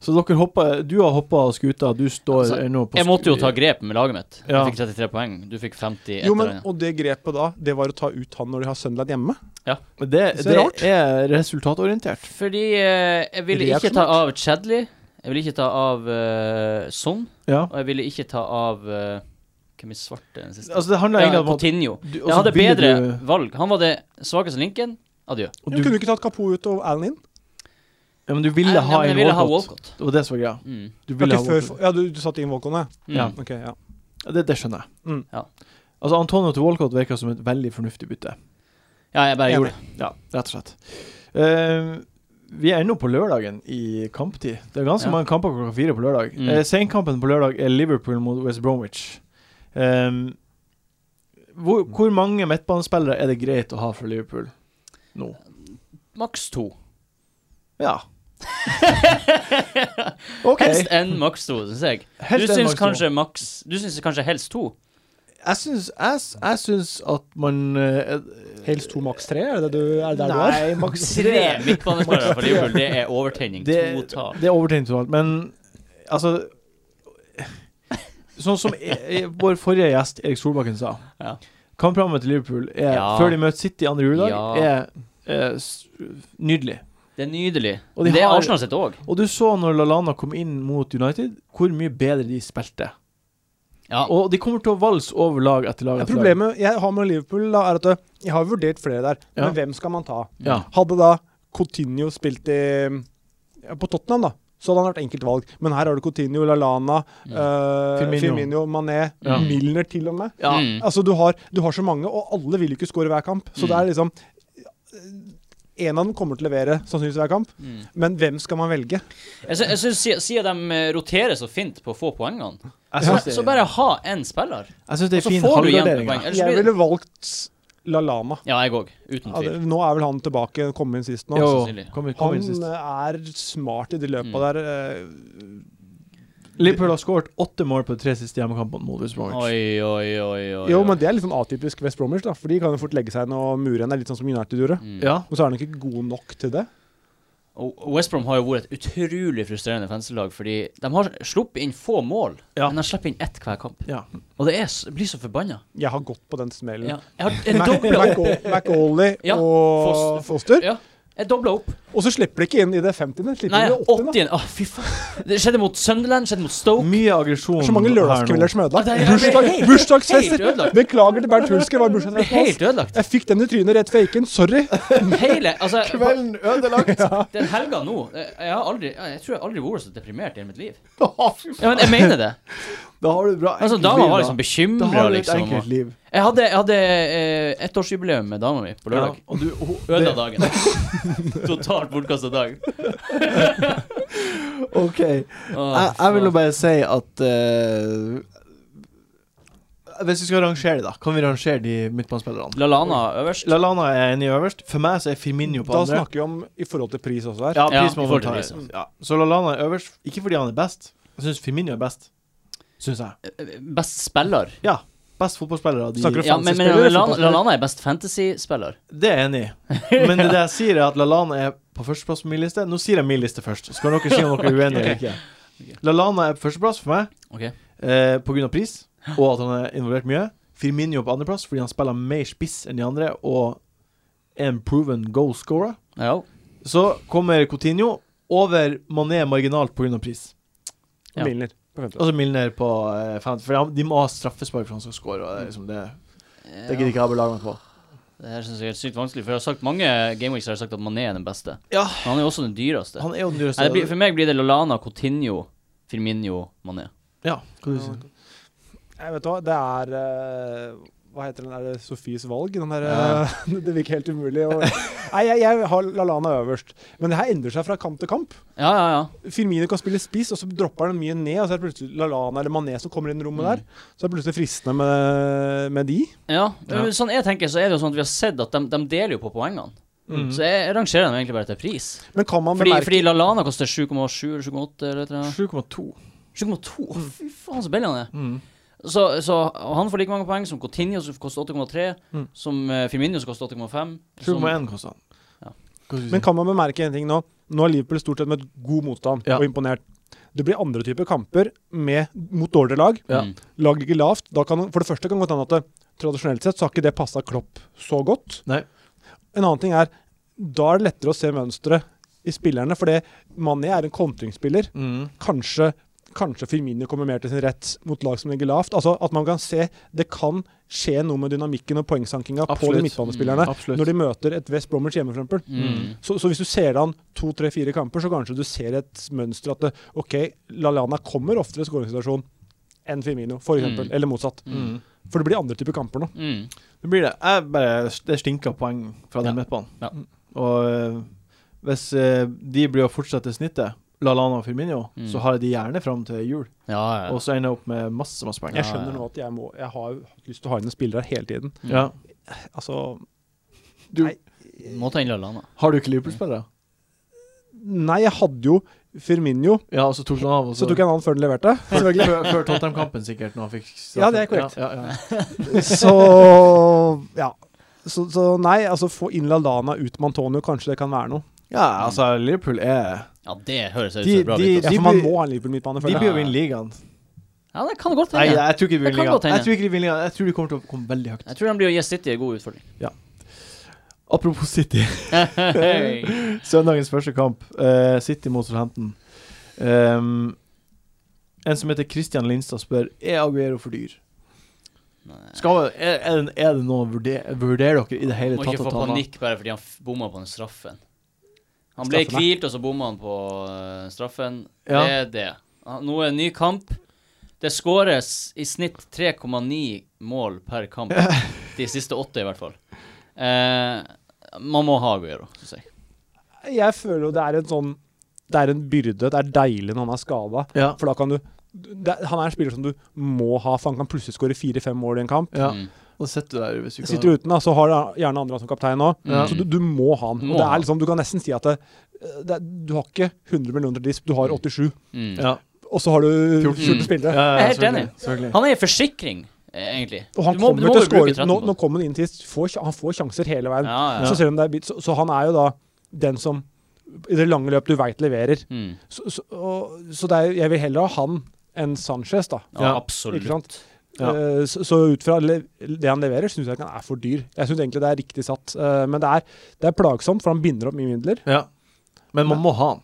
A: Så dere hoppa Du har hoppa skuta, du står
B: Altså,
A: ennå på
B: Jeg måtte jo ta grep med laget mitt.
A: Ja.
B: Jeg fikk 33 poeng. Du fikk 50 etter
D: Jo, men,
B: den.
D: og det grepet da, det var å ta ut han når de har Sunderland hjemme?
A: Det, det,
D: Så rart.
A: er resultatorientert.
B: Fordi eh, jeg ville
D: Reaksjonært.
B: ikke ta av Chadley. Jeg ville ikke ta av eh, Son.
A: Ja.
B: Og jeg ville ikke ta av eh, Hvem er svarte den siste?
A: Altså, det handler
B: ja,
A: egentlig om at
B: Coutinho.
A: du- og
B: Jeg
A: så
B: hadde
A: ville
B: bedre
A: du-
B: valg. Han var det svakeste linken. Adjø.
A: og
D: Du,
A: du,
D: kunne du ikke tatt Kapo ut og Allen inn?
A: ja, men du
B: Nei,
A: ville ha
B: men jeg
A: en
B: ville ha
A: Walcott.
B: Walcott.
A: Det var det som var greia.
B: Mm.
A: Du ville
D: Ja,
A: ha
D: ikke før,
A: Walcott.
D: ja, du, du satte inn Walcon, ja.
B: Mm.
A: Ja.
D: Ok, ja.
A: Ja, Det, det skjønner jeg.
D: Mm.
B: Ja.
A: Altså, Antonio til Walcott virker som et veldig fornuftig bytte.
B: ja, jeg bare
D: Enig.
B: gjorde det.
A: Ja, rett og slett. Eh, vi er ennå på lørdagen i kamptid. Det er ganske
B: Ja.
A: mange kamper klokka fire på lørdag.
B: Mm.
A: Eh, senkampen på lørdag er Liverpool mot West Bromwich. Ehm, hvor, hvor mange midtbanespillere er det greit å ha fra Liverpool nå?
B: Maks to.
A: Ja. OK.
B: Helst en maks to, syns jeg.
A: Helst
B: du
A: en
B: syns
A: maks to.
B: kanskje maks Du syns kanskje helst to?
A: Jeg syns, jeg, s- jeg syns at man eh,
D: Helst to, maks tre? Er det det du, er det der du er?
A: Nei, maks
B: Tre midtbanespillere for Liverpool, det er overtenning.
A: Det,
B: to tap.
A: det er overtenkt totalt, men altså Sånn som e- e- vår forrige gjest, Erik Solbakken, sa.
B: Ja.
A: Kampprogrammet til Liverpool er,
B: Ja.
A: før de møter City andre juledag,
B: Ja.
A: er, er s- nydelig.
B: Det er nydelig.
A: Og de
B: det er
A: har-
B: Arsenal sitt òg.
A: Og du så når Lalana kom inn mot United, hvor mye bedre de spilte.
B: Ja.
A: Og de kommer til å valse over lag etter lag.
D: Ja,
A: Etter lag.
D: Problemet jeg har med Liverpool, da, er at øh, jeg har vurdert flere der,
A: Ja.
D: men hvem skal man ta?
A: Ja.
B: Mm.
D: Hadde da Coutinho spilt i ja, På Tottenham, da, så hadde han vært enkelt valg. Men her har du Coutinho, Lalana,
B: Mm.
D: øh,
A: Firmino.
D: Firmino. Mané,
A: Ja.
D: Milner til og med.
A: Ja.
B: Mm.
D: Altså, du har, du har så mange, og alle vil jo ikke score hver kamp.
B: Mm.
D: Så det er liksom En av dem kommer til å levere sannsynligvis hver kamp,
B: Mm.
D: men hvem skal man velge?
B: Jeg, sy jeg syns si- siden de eh, roterer så fint på å få poengene,
A: Jeg
B: så,
A: syns det,
B: så bare ha én spiller.
A: jeg syns det
B: og så
A: er fin
B: får du igjen
A: halvgardering.
B: poeng.
A: ja.
B: Ellers
D: Jeg
B: blir-
D: ville valgt LaLana.
B: Ja, jeg òg. Uten
D: Ja,
B: tvil.
D: det- nå er vel han tilbake, kom inn sist nå. altså.
A: Jo,
B: sannsynlig.
A: kom, kom
D: Han eh,
A: inn sist.
D: er smart i de løpa
B: Mm.
D: der. eh,
A: Liverpool har skåret åtte mål på de tre siste hjemmekampene mot West Bromwich.
B: Oi, oi, oi, oi.
D: Jo,
B: oi.
D: men det er litt sånn atypisk West Bromwich, da. For de kan jo fort legge seg inn og mure igjen. Det er Litt sånn som United gjorde.
B: Mm.
A: Ja.
D: Og så er han ikke god nok til det.
B: Og og West Brom har jo vært et utrolig frustrerende fanselag, fordi de har sluppet inn få mål,
A: Ja.
B: men de slipper inn ett hver kamp.
A: Ja.
B: Og det er, s- blir så forbanna.
D: Jeg har gått på den smellen.
B: Ja. Jeg har jeg
D: Mac-
B: dobla opp.
D: Mac- McAuley
B: Ja,
D: og
B: Fos-
D: Foster.
B: Ja, jeg dobla opp.
D: Og så slipper de ikke inn i det 50. Slipper
B: Nei,
D: inn i det 80.
B: 80 Å, fy faen. Det skjedde mot Sunderland, skjedde mot Stoke.
A: Mye aggresjon
D: Det er så mange
A: her nå.
D: lørdagskvelder som er ødelagt.
B: Ja, det er-
D: Bursdag,
B: helt-
D: bursdagsfest!
B: helt ødelagt.
D: Beklager til Bernt Hulsker. var
B: Det ble helt
D: bursdagsfest.
B: ødelagt.
D: Jeg fikk den i trynet rett før jeg gikk inn. Sorry.
B: Hele Altså,
A: Kvelden ødelagt.
B: den helga nå eh, Jeg har aldri Jeg tror jeg aldri har vært så deprimert i hele mitt liv. Ja, men jeg mener det.
A: Da har du et bra
B: Altså,
A: enkelt
B: Dama
A: liv,
B: var
A: da.
B: liksom
A: Da
B: bekymra,
A: har du et
B: liksom.
A: enkelt
B: og-
A: liv.
B: Jeg hadde, jeg hadde eh, ettårsjubileum med dama mi på
A: Ja,
B: lørdag.
A: og du, og,
B: Ødela dagen. Totalt bortkasta dag.
A: det- OK. Jeg, jeg vil jo bare si at eh, Hvis vi skal rangere det, da, kan vi rangere de midtbanespillerne?
B: Lalana øverst.
A: Lalana er enig øverst. For meg så er Firmino på
D: Da
A: andre.
D: snakker vi om i forhold til pris også her.
A: Ja,
B: Ja,
A: pris
B: i
A: må man
B: forhold
A: ta.
B: til
A: i.
B: pris,
A: Ja. Så Lalana er øverst, ikke fordi han er best. Jeg syns Firmino er best. Syns jeg.
B: Best spiller.
A: Ja. Best fotballspiller av de
D: Snakker du
B: Ja, men, men
D: Fantasy-spiller,
A: sånn
B: Lalana,
D: fotballspiller.
B: Lalana er best fantasy-spiller.
A: Det er jeg enig i. Men det jeg sier, er at Lalana er på førsteplass på min liste. Nå sier jeg min liste først, så kan dere si om dere er uenige eller ikke. Lalana er på førsteplass for meg
B: Ok.
A: eh, pga. pris, og at han er involvert mye. Firmino på andreplass fordi han spiller mer spiss enn de andre og er en proven goal scorer.
B: Ja.
A: Så kommer Coutinho over Mané marginalt pga. pris.
B: Ja.
D: Milner på femte.
A: Og så Milner på eh, fem. For han- de må ha straffespark for han skal score. Og det, er liksom det, det gidder ikke jeg å belage meg på.
B: Det her synes jeg er sykt vanskelig, for jeg har sagt mange gameweeks har jeg sagt at Mané er den beste.
A: Ja.
B: Men han er jo også den dyreste.
A: Han er jo den dyreste.
B: Nei, det blir, for meg blir det Lalana, Coutinho, Firmino, Mané.
A: Ja, hva du sier
D: Jeg vet hva, det er eh, Hva heter den der eh, Sofies valg? Den der, eh, det virker helt umulig. å- Nei, jeg, jeg har LaLana øverst. Men det her endrer seg fra kamp til kamp.
B: Ja, ja, ja.
D: Firmino kan spille spiss, og så dropper han mye ned. Og så er det plutselig LaLana eller Mané som kommer inn i rommet
B: Mm.
D: der. Så er det plutselig fristende med, med de.
B: ja.
A: Ja.
B: men Sånn jeg tenker, så er det jo sånn at vi har sett at de, de deler jo på poengene.
A: Mhm.
B: Mm. Så jeg, jeg rangerer dem egentlig bare etter pris.
D: Men kan man
B: Fordi,
D: bemerke
B: fordi Lalana koster
A: Mm.
B: 7,7 eller 7,8 eller et eller annet.
A: 7,2. Mm.
B: 7,2? Å, Fy faen, så billig han er. Så, så og han får like mange poeng som Coutinho, som koster 8,3.
A: Mm.
B: Som eh, Firmino, som koster 8,5. som-
A: 7,1 koster han.
B: Ja.
A: Hva skal vi si?
D: Men kan man bemerke en ting nå? Nå har Liverpool stort sett møtt god motstand
A: Ja.
D: og imponert. Det blir andre typer kamper med, mot dårligere lag.
A: Ja.
B: Mm.
D: Lag ligger lavt. Da kan, for det første kan det godt hende at det, tradisjonelt sett så har ikke det passa Klopp så godt.
A: Nei.
D: En annen ting er da er det lettere å se mønsteret i spillerne, for Mané er en kontringsspiller.
A: Mm.
D: Kanskje, kanskje Firmino kommer mer til sin rett mot lag som ligger lavt. Altså At man kan se Det kan skje noe med dynamikken og poengsankinga på
A: Absolutt. Mm,
D: de midtbanespillerne
A: Absolutt.
D: når de møter et West Bromwich hjemme, for eksempel.
B: Mm.
D: Så, så hvis du ser an to, tre, fire kamper, så kanskje du ser et mønster at det, OK, Lallana kommer oftere i skåringssituasjon enn Firmino, for eksempel,
B: Mm.
D: eller motsatt.
A: Mm.
D: For det blir andre typer kamper nå.
B: Mm.
A: Det blir det. Jeg bare, det stinker poeng fra den
B: Ja.
A: midtbanen.
B: Ja.
A: Og eh, hvis eh, de blir å fortsette snittet, Lallana og Firmino,
B: Mm.
A: så har jeg de gjerne fram til jul.
B: Ja, ja.
A: Og så ender jeg opp med masse, masse poeng.
B: Ja,
D: Jeg skjønner nå at jeg, må, jeg har lyst til å ha inn en spiller her hele tiden.
B: Mm.
A: Ja.
D: Altså
A: Du,
D: Nei.
B: Må ta inn Lallana.
A: har du ikke Liverpool-spillere?
D: Nei, jeg hadde jo Firmino,
A: Ja, altså, og så tok du han av, og
D: så tok jeg en annen før den leverte. Selvfølgelig.
A: Før, før Tottenham-kampen, sikkert, når han fikk straffen.
D: Ja, det er korrekt.
A: Ja, ja, ja.
D: Så ja. Så, så nei, altså få inn Lallana ut med Antonio, kanskje det kan være noe.
A: ja, altså, Liverpool er
B: Ja, det høres ut
A: De-
B: som bra
A: de-
B: ut.
D: Ja,
B: altså.
D: for man
A: blir-
D: må ha en Liverpool-midtbane,
A: De
D: føler
A: blir
D: jeg.
A: jo vinne ligaen.
B: Sånn, Ja, det kan godt
A: Nei,
B: hende.
A: jeg tror ikke de
B: Det
A: vinner
B: kan godt
A: ligaen.
B: hende.
A: Jeg tror ikke de vinner ligaen. Jeg tror de kommer til å komme veldig høyt.
B: Jeg tror den blir å gi City en god utfordring.
A: Apropos City.
B: Hei.
A: Søndagens første kamp, eh, City mot Southampton. Ehm, en som heter Christian Lindstad spør Er Aguero for dyr.
B: Nei.
A: Skal, er, er, det- er det noe å vurdere, vurderer dere i det hele
B: Må
A: tatt
B: ikke
A: å
B: få
A: ta han av?
B: panikk bare fordi han f- bomma på den straffen. Han ble
D: Straffen, ja.
B: hvilt, og så bomma han på eh, straffen.
A: Ja.
B: Det er det. Han- Nå er det en ny kamp. Det skåres i snitt 3,9 mål per kamp. De siste åtte, i hvert fall. Eh, man må ha Aguero, syns jeg.
D: Jeg føler jo det er en sånn Det er en byrde. Det er deilig når han er skada.
A: Ja.
D: For da kan du det, Han er en spiller som du må ha, for han kan plutselig skåre fire-fem mål i en kamp.
A: ja.
B: Mm.
A: Og sitter du der hvis du ikke
D: Sitter du uten, da, så har du gjerne andre som kaptein òg.
A: Ja.
D: Så du, du må ha han.
B: Må
D: Og det
B: ha.
D: er liksom, du kan nesten si at det, det, er- du har ikke 100 millioner til disp, du har 87.
B: Mm.
A: Ja.
D: Og så har du 14
B: 14
D: spillere.
A: Ja, ja,
B: Jeg er helt
A: selvfølgelig,
B: enig.
A: selvfølgelig.
B: Han er en forsikring, eh, egentlig.
D: Og han
B: Du må-
D: kommer
B: du må
D: til å
B: jo bruke
D: skåre.
B: 13
D: Nå,
B: på
D: nå
B: det.
D: kom han inn sist. Får, sj- han får sjanser hele veien.
B: ja, ja.
D: Så, selv om det er, bit- så, så han er jo da den som i det lange løp du veit leverer.
B: Mm.
D: Så, så, og, så det er, jo- jeg vil heller ha han enn Sanchez, da.
B: ja,
A: Ja.
B: absolutt.
D: Ikke sant?
A: Ja.
D: Eh, så, så ut fra le det han leverer, syns jeg ikke han er for dyr. Jeg syns egentlig det er riktig satt. eh, men det er, det er plagsomt, for han binder opp mye midler.
A: Ja. Men man må ha han.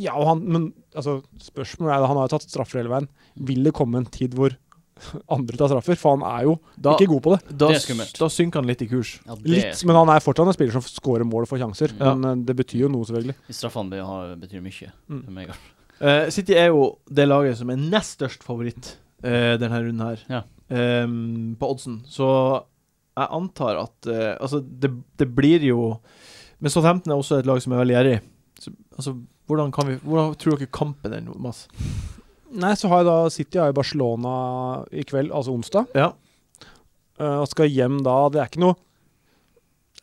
D: Ja, og han, men altså, spørsmålet er da, han har jo tatt straffer hele veien. Vil det komme en tid hvor andre tar straffer? For han er jo
A: Da,
D: ikke god på det.
A: da,
B: Det er skummelt.
A: da synker han litt i kurs.
B: Ja, det
D: Litt, men han er fortsatt en spiller som scorer mål og får sjanser.
A: Ja.
D: Men eh, det betyr jo noe, selvfølgelig.
B: De Straffene be- har- betyr mye
D: Mm.
B: for meg. i hvert
A: Eh, City er jo det laget som er nest størst favoritt eh, denne runden her,
B: Ja.
A: Ehm, på oddsen. Så jeg antar at eh, Altså, det, det blir jo Men Southampton er også et lag som er veldig gjerrig. Så, altså, hvordan, kan vi, hvordan tror dere kampen er nå, Mads?
D: Nei, så har jeg da City har jo Barcelona i kveld, altså onsdag.
A: Ja.
D: eh, og skal hjem da. Det er ikke noe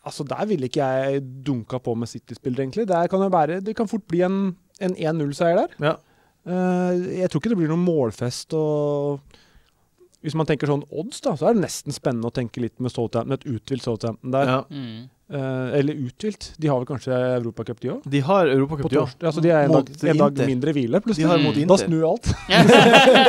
D: Altså, der ville ikke jeg dunka på med City-spillere, egentlig. Det kan jo være, det kan fort bli en, en 1-0-seier der.
A: Ja.
D: Eh, jeg tror ikke det blir noen målfest og Hvis man tenker sånn odds, da, så er det nesten spennende å tenke litt med Southampton, et uthvilt Southampton der.
A: ja.
B: fall. Mm.
D: Eh, eller uthvilt, de har vel kanskje Europacup, de òg?
A: De har
D: På
A: Europacup, de
D: torsdag. Altså, de er en
A: Mot
D: dag, en dag
A: Inter.
D: mindre hvile,
A: også. De
D: plutselig.
A: har mot
B: Mm.
D: Da
A: Inter.
D: snur alt.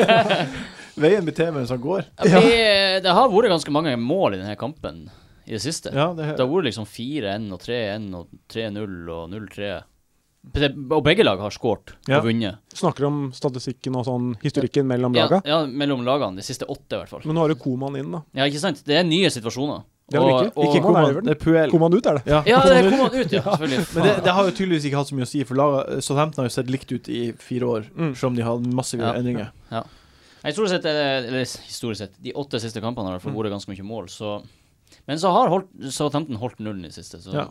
A: Veien blir til mens han går.
B: Ja, eh, Det, det har vært ganske mange mål i denne kampen i det siste.
A: Ja, det,
B: Det har vært liksom 4-1 og 3-1 og 3-0 og 0-3. Det- Og begge lag har skåret
A: Ja.
B: og vunnet.
D: Snakker om statistikken og sånn historikken mellom
B: Ja,
D: laga.
B: ja, mellom lagene. De siste åtte, i hvert fall.
D: Men nå har du Koman inn, da.
B: Ja, ikke sant? Det er nye situasjoner.
D: Det er vel ikke- ikke
B: og,
D: Koeman.
A: Koeman, det er Puel.
D: Koman ut, er det.
A: Ja,
B: Ja, det
A: Koeman.
B: kom han ut, ja. Selvfølgelig.
A: Men det, det har jo tydeligvis ikke hatt så mye å si, for laget- Southampton har jo sett likt ut i fire år,
D: Mm.
A: selv om de har massive
B: Ja.
A: endringer.
B: Nei, historisk sett, eh, eller historisk sett, de åtte siste kampene har i hvert fall vært ganske mye mål, så Men så har holdt, Southampton holdt nullen i det siste, så
A: Ja.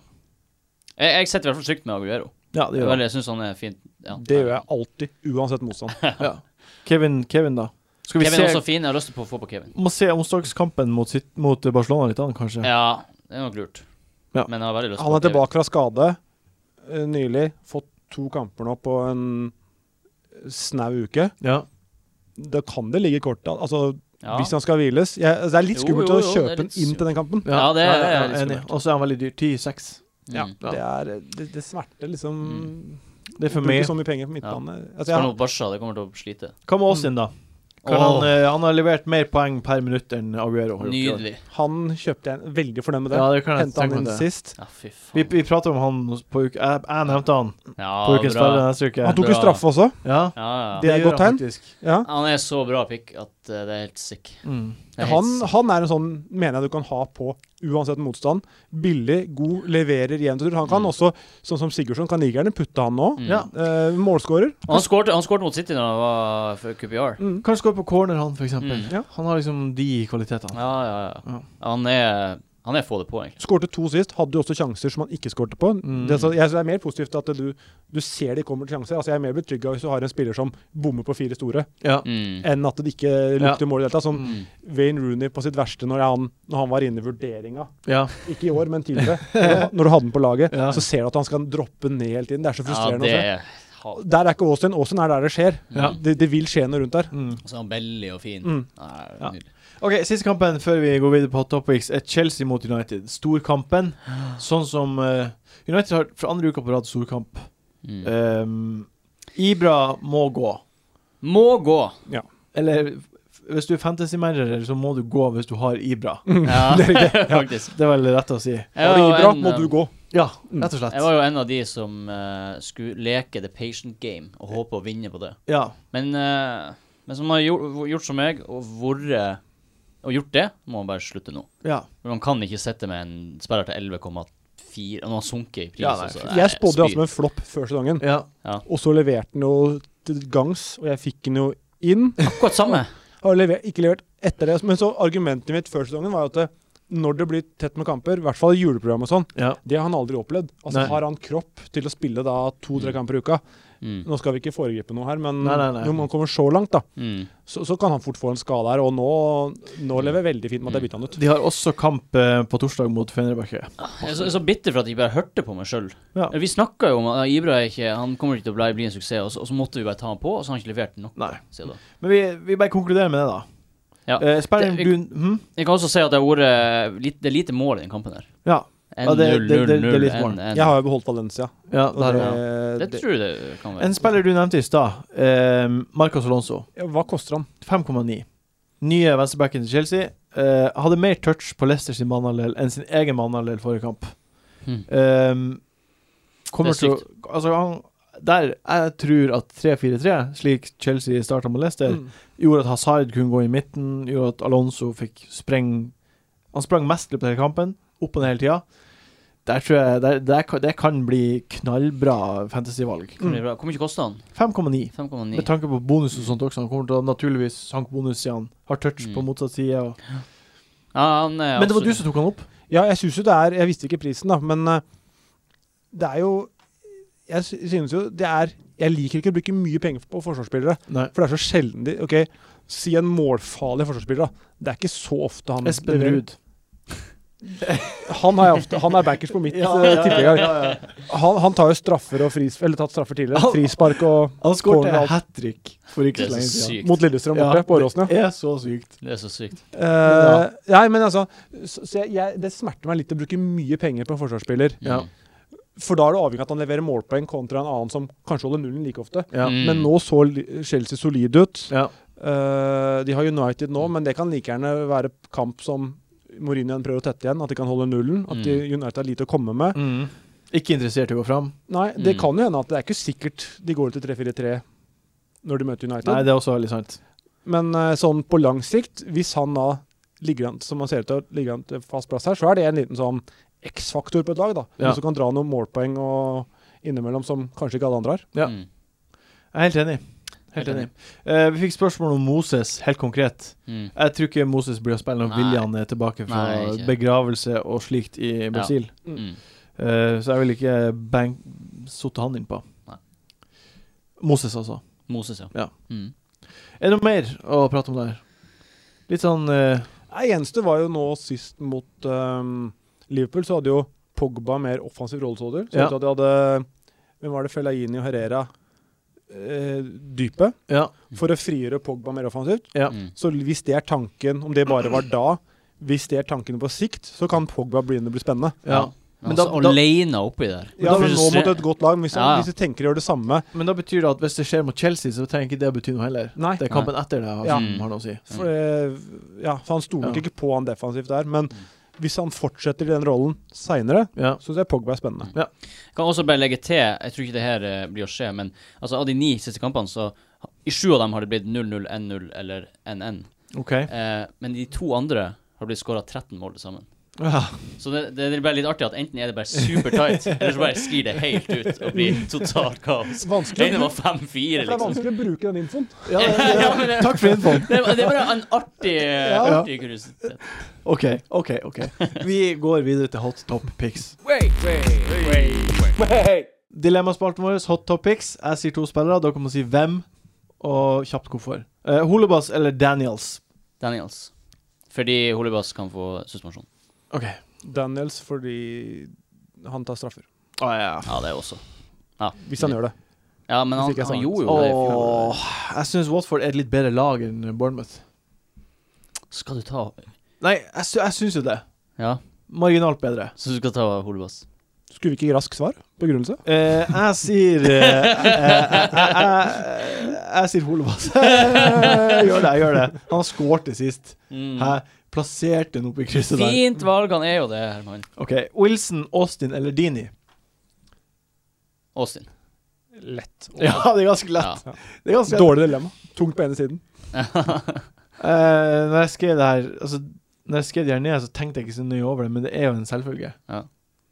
B: jeg, jeg setter i hvert fall trygt med Aguero.
A: Ja, det gjør
B: Vel, jeg syns han er fin. Ja.
D: Det gjør jeg alltid, uansett motstand.
A: Ja. Kevin, Kevin, da. Skal vi
B: Kevin er
A: se
B: også fin. Jeg har lyst til å få på Kevin.
A: Må se onsdagskampen mot, sitt- mot eh, Barcelona litt an, kanskje.
B: Ja, det er nok lurt.
A: Ja.
B: Men jeg har veldig lyst
D: Han
B: på
D: er tilbake fra skade eh, nylig. Fått to kamper nå på en snau uke.
A: Ja.
D: da kan det ligge i kortet. Altså,
B: Ja.
D: Hvis han skal hviles. Jeg, altså, det er litt
B: Jo,
D: skummelt
B: jo, jo,
D: å
B: det er
D: kjøpe den
B: litt
D: inn til den kampen.
B: Ja, det er- det er litt
A: enig.
B: skummelt.
A: Og så er han veldig dyr. 10-6.
B: Ja.
A: Mm.
D: Det, er, det, det smerter liksom
B: Mm.
A: Det er for
D: Bruke
A: meg.
D: så mye penger på midtbane. Altså,
B: Skal
D: jeg,
B: nå Barca, det kommer til å slite.
A: Hva med oss inn, da? Kan
B: Åh.
A: han, eh, han har levert mer poeng per minutt enn Aguero. har gjort i år.
B: Nydelig.
D: han kjøpte jeg veldig fornøyd med det.
A: Ja, det kan jeg
D: Hentet han
A: tenke
D: inn
A: meg det.
D: sist.
B: Ja, fy
A: Vi,
B: faen.
A: vi prater om han på uke Jeg, jeg nevnte han på
B: Ja,
A: ukens
B: bra.
A: spiller neste uke.
D: Han tok jo
B: Bra.
D: straffe også.
A: Ja,
B: Ja, ja.
D: Det er
A: gjør
D: godt
A: han
D: tegn.
A: faktisk.
D: Ja.
B: Han er så bra pick at eh, det er helt sick.
A: Mm.
B: Det er
D: Han,
B: helt sick.
D: han er en sånn mener jeg du kan ha på uansett motstand. Billig, god, leverer jevnt og trutt. Han kan
B: Mm.
D: også, sånn som Sigurdsson, kan like gjerne putte han nå.
B: Mm.
A: Ja.
D: Eh, målskårer.
B: Og Han skårte han skårte mot City da han var for QPR.
D: Mm.
A: Kan skåre på corner, han, for eksempel.
B: Mm.
D: Ja.
A: Han har liksom de kvalitetene.
B: Ja, ja, ja.
A: Ja.
B: Han er, han er få det på, egentlig.
D: Skårte to sist, hadde jo også sjanser som han ikke skårte på.
A: Mm.
D: Det, er så, jeg synes det er mer positivt at du, du ser de kommer til sjanser. Altså, jeg er mer betrygga hvis du har en spiller som bommer på fire store,
A: Ja.
B: Mm.
D: enn at det ikke lukter mål i det hele tatt. Som
A: Mm.
D: Wayne Rooney på sitt verste når han, når han var inne i vurderinga.
A: ja. Ikke
D: Ikke i år, men tidligere. Når du- Når du hadde den på laget,
A: Ja.
D: så ser du at han skal droppe ned hele tiden. Det er så
B: Ja,
D: frustrerende
B: det
D: å se.
B: er ha- Mm.
D: Der er ikke Austin. Austin er der det skjer.
A: Ja.
D: Det, det vil skje noe rundt der.
A: Mm.
B: Og så er han veldig og fin.
D: Mm.
B: Nei,
A: Ja.
B: nydelig.
A: OK, siste kampen før vi går videre på Hot Topics, er Chelsea mot United. Storkampen. Sånn som eh, United har for andre uka på rad storkamp.
B: Mm.
A: Um, Ibra må gå.
B: Må gå.
A: Eller f- hvis du er fantasy-manager, så må du gå hvis du har Ibra.
B: Ja, faktisk.
A: Det er vel rett å si.
B: Jeg
D: Har du
B: var, jo
D: Ibra,
B: en, um,
D: må du gå.
A: Ja, rett og
B: jeg
A: slett.
B: var jo en av de som eh, skulle leke the patient game og håpe å vinne på det.
A: Ja.
B: Men, eh, men som har gjort, gjort som meg, og vært eh, Og gjort det, må han bare slutte nå.
A: ja.
B: For Man kan ikke sette med en sperrer til 11,4 Og nå har han sunket i pris.
A: Ja, nei,
B: også.
D: Jeg spådde
B: spyr.
D: altså med en flopp før sesongen,
A: ja.
D: og så leverte han jo til gangs, og jeg fikk han jo inn.
B: Akkurat samme.
D: Har lever, ikke levert etter det. Men så argumentet mitt før sesongen var jo at det, når det blir tett med kamper, i hvert fall i juleprogram og sånn,
A: ja.
D: det har han aldri opplevd. Altså
A: Nei.
D: Har han kropp til å spille da to-tre
B: Mm.
D: kamper i uka?
B: Mm.
D: Nå skal vi ikke foregripe noe her, men
A: Nei, nei, nei.
D: når man kommer så langt, da,
B: Mm.
D: så, så kan han fort få en skade her. Og nå, nå lever jeg veldig fint med at jeg bytta han ut.
A: De har også kamp eh, på torsdag mot Fenerbahçe.
B: Jeg er så, jeg er så bitter for at jeg ikke bare hørte på meg sjøl.
A: Ja.
B: Vi snakka jo om at Ibra er ikke Han kommer ikke til å bli, bli en suksess, og så, og så måtte vi bare ta han på, og så har han ikke levert nok.
A: Nei.
B: sier da.
A: Men vi, vi bare konkluderer med det, da.
B: Ja.
A: Eh, Spiller
B: Det-
A: du hm?
B: Jeg kan også si at det har vært litt- det er lite mål i den kampen her.
A: Ja. Ja, det- det- det- det er litt mål.
D: Jeg har jo beholdt Valencia.
A: ja
D: Og
A: der,
D: det,
A: ja.
B: Det
D: det,
B: tror jeg det kan være.
A: En spiller du nevnte i stad, eh, Marcos Alonso.
D: ja, hva koster han?
A: 5,9. Nye venstrebacken til Chelsea. Eh, hadde mer touch på Leicester sin banehalvdel enn sin egen banehalvdel forrige kamp.
B: Hmm.
A: Ehm, kommer
B: Det
A: til
B: er
A: å Altså, han Der jeg tror at 3-4-3, slik Chelsea starta med Leicester,
D: Mm.
A: gjorde at Hazard kunne gå i midten, gjorde at Alonso fikk spreng Han sprang mesterlig på hele kampen, opp og ned hele tida. Der tror jeg der, der, kan- det kan bli knallbra fantasyvalg.
B: Kan bli bra. Hvor mye kosta han?
A: 5,9.
B: 5,9.
A: Med tanke på bonus og sånt også. Han kommer til å naturligvis sanke bonus siden han har touch
B: Mm.
A: på motsatt side. Og...
B: Ja, han er
A: Men det var du
B: absolutt-
A: som tok han opp.
D: Ja, jeg syns jo det er Jeg visste ikke prisen, da, men eh, det er jo Jeg sy- synes jo det er Jeg liker ikke å bruke mye penger på forsvarsspillere,
A: Nei.
D: for det er så sjelden de OK, si en målfarlig forsvarsspiller, da. Det er ikke så ofte han
A: Espen
D: leverer.
A: Ruud.
D: Han er, ofte, han er backers på mitt, eh, tipper jeg. Han, han tar jo straffer og fris, eller tatt straffer tidligere.
A: Han-
D: Frispark og
A: Han
D: skårte
A: skåret hat trick for ikke
B: Det
A: så
B: er
A: lenge
B: så
A: siden.
B: sykt.
D: mot Lillestrøm
A: Ja,
D: borte, på Åråsen, ja.
A: Det er så sykt.
B: Det er så sykt.
D: Eh, Nei, men altså så, så jeg, jeg, Det smerter meg litt å bruke mye penger på en forsvarsspiller,
A: Ja.
D: for da er det avhengig av at han leverer målpoeng kontra en annen som kanskje holder nullen like ofte.
A: Ja.
B: Mm.
D: Men nå så li- Chelsea solid ut.
A: Ja.
D: Eh, de har United nå, men det kan like gjerne være kamp som Mourinho prøver å tette igjen. At de kan holde nullen. At de,
B: Mm.
D: United har lite å komme med.
A: Mm. Ikke interessert i å gå fram.
D: Nei, det
B: Mm.
D: kan jo hende at det er ikke sikkert de går til 3-4-3 når de møter United.
A: Nei, det er også veldig sant.
D: Men eh, sånn på lang sikt, hvis han da ligger an, som han ser ut til å ligge an til fast plass her, så er det en liten sånn X-faktor på et lag, da.
A: Ja.
D: Som kan dra noen målpoeng og innimellom som kanskje ikke alle andre har.
A: Ja.
B: Mm.
A: Jeg er helt enig. Helt
B: Helt
A: enig. Eh, vi fikk spørsmål om Moses, helt konkret.
B: Mm.
A: Jeg tror ikke Moses blir å spille når
B: Nei.
A: William er tilbake fra
B: Nei, ikke.
A: begravelse og slikt i Brasil.
B: Mm.
A: Eh, så jeg vil ikke bank sotte han innpå.
B: Nei.
A: Moses, altså.
B: Moses, ja.
A: Ja.
B: Mm.
A: Er det noe mer å prate om der? Litt sånn eh,
D: Det eneste var jo nå sist mot ehm, Liverpool, så hadde jo Pogba mer offensiv rolle, så du. Så
A: Ja.
D: ut til at de hadde Hvem var det? Fellaini og Herrera eh, dypet
A: Ja.
D: for å frigjøre Pogba mer offensivt.
A: ja.
B: Mm.
D: Så hvis det er tanken, om det bare var da Hvis det er tanken på sikt, så kan Pogba begynne å bli spennende.
A: ja. Men
B: Men da,
A: da- da-
B: alene oppi der.
D: Ja,
B: Da
D: men nå
B: frustrer-
D: mot et godt lag. men Hvis,
B: Ja, ja.
D: hvis de tenker å gjøre det samme
A: Men da betyr det at hvis det skjer mot Chelsea, så trenger ikke det å bety noe heller.
D: Nei.
A: Det er kampen etter det
D: Ja.
A: som har noe å si.
D: for, eh, ja, for han stoler nok
A: Ja.
D: ikke på han defensivt der. Men hvis han fortsetter i den rollen seinere,
A: Ja.
D: så syns jeg Pogba er spennende.
B: Kan også bare legge til, jeg tror ikke det her eh, blir å skje, men altså av de ni siste kampene, så ha- I sju av dem har det blitt 0-0, 1-0 eller 1-1.
A: OK.
B: Eh, men de to andre har blitt skåra 13 mål til sammen.
A: Ja.
B: Så det, det er bare litt artig at enten er det bare super tight, eller så bare sklir det helt ut og blir totalt kaos.
D: Vanskelig,
B: Den var 5-4,
D: det er
B: liksom.
D: vanskelig å bruke den infoen.
A: Ja, ja, ja.
B: Ja, men det-
A: Takk for infoen.
B: Det, var- det er bare en artig,
A: Ja.
B: artig kuriositet.
A: OK, OK. ok Vi går videre til hot top pics. Dilemmaspalten vår, hot topics. Jeg sier to spillere, dere må si hvem, og kjapt hvorfor. Eh, Holebas eller Daniels?
B: Daniels. Fordi Holibas kan få suspensjon.
A: OK.
D: Daniels fordi han tar straffer.
A: Å ja.
B: Ja, det er også.
D: Hvis han gjør det.
B: Ja, men han,
D: Hvis ikke jeg sa
B: han
D: det.
B: gjorde jo det i fjor.
A: Åh, jeg syns Watford er et litt bedre lag enn Bournemouth.
B: Skal du ta
A: Nei, jeg, sy jeg syns jo det.
B: Ja,
A: Marginalt bedre.
B: så du skal ta Holibas?
D: Skulle vi ikke gi raskt svar? Begrunnelse?
A: Eh, jeg sier eh, eh, eh, eh, Jeg sier Holebas. gjør det, jeg gjør det. Han skårte sist.
B: Mm.
A: Hæ? Plasserte den oppi krysset der.
B: Fint valg, han er jo det, Herman.
A: OK. Wilson, Austin eller Dini?
B: Austin.
D: Lett.
A: Ja, det er ganske lett.
B: Ja.
A: Det
B: Altså,
A: er ganske lett.
D: Dårlig dilemma. Tungt på ene siden.
A: Eh, når jeg skrev det her Altså Når jeg skrev det her ned, så tenkte jeg ikke så nøye over det, men det er jo en selvfølge.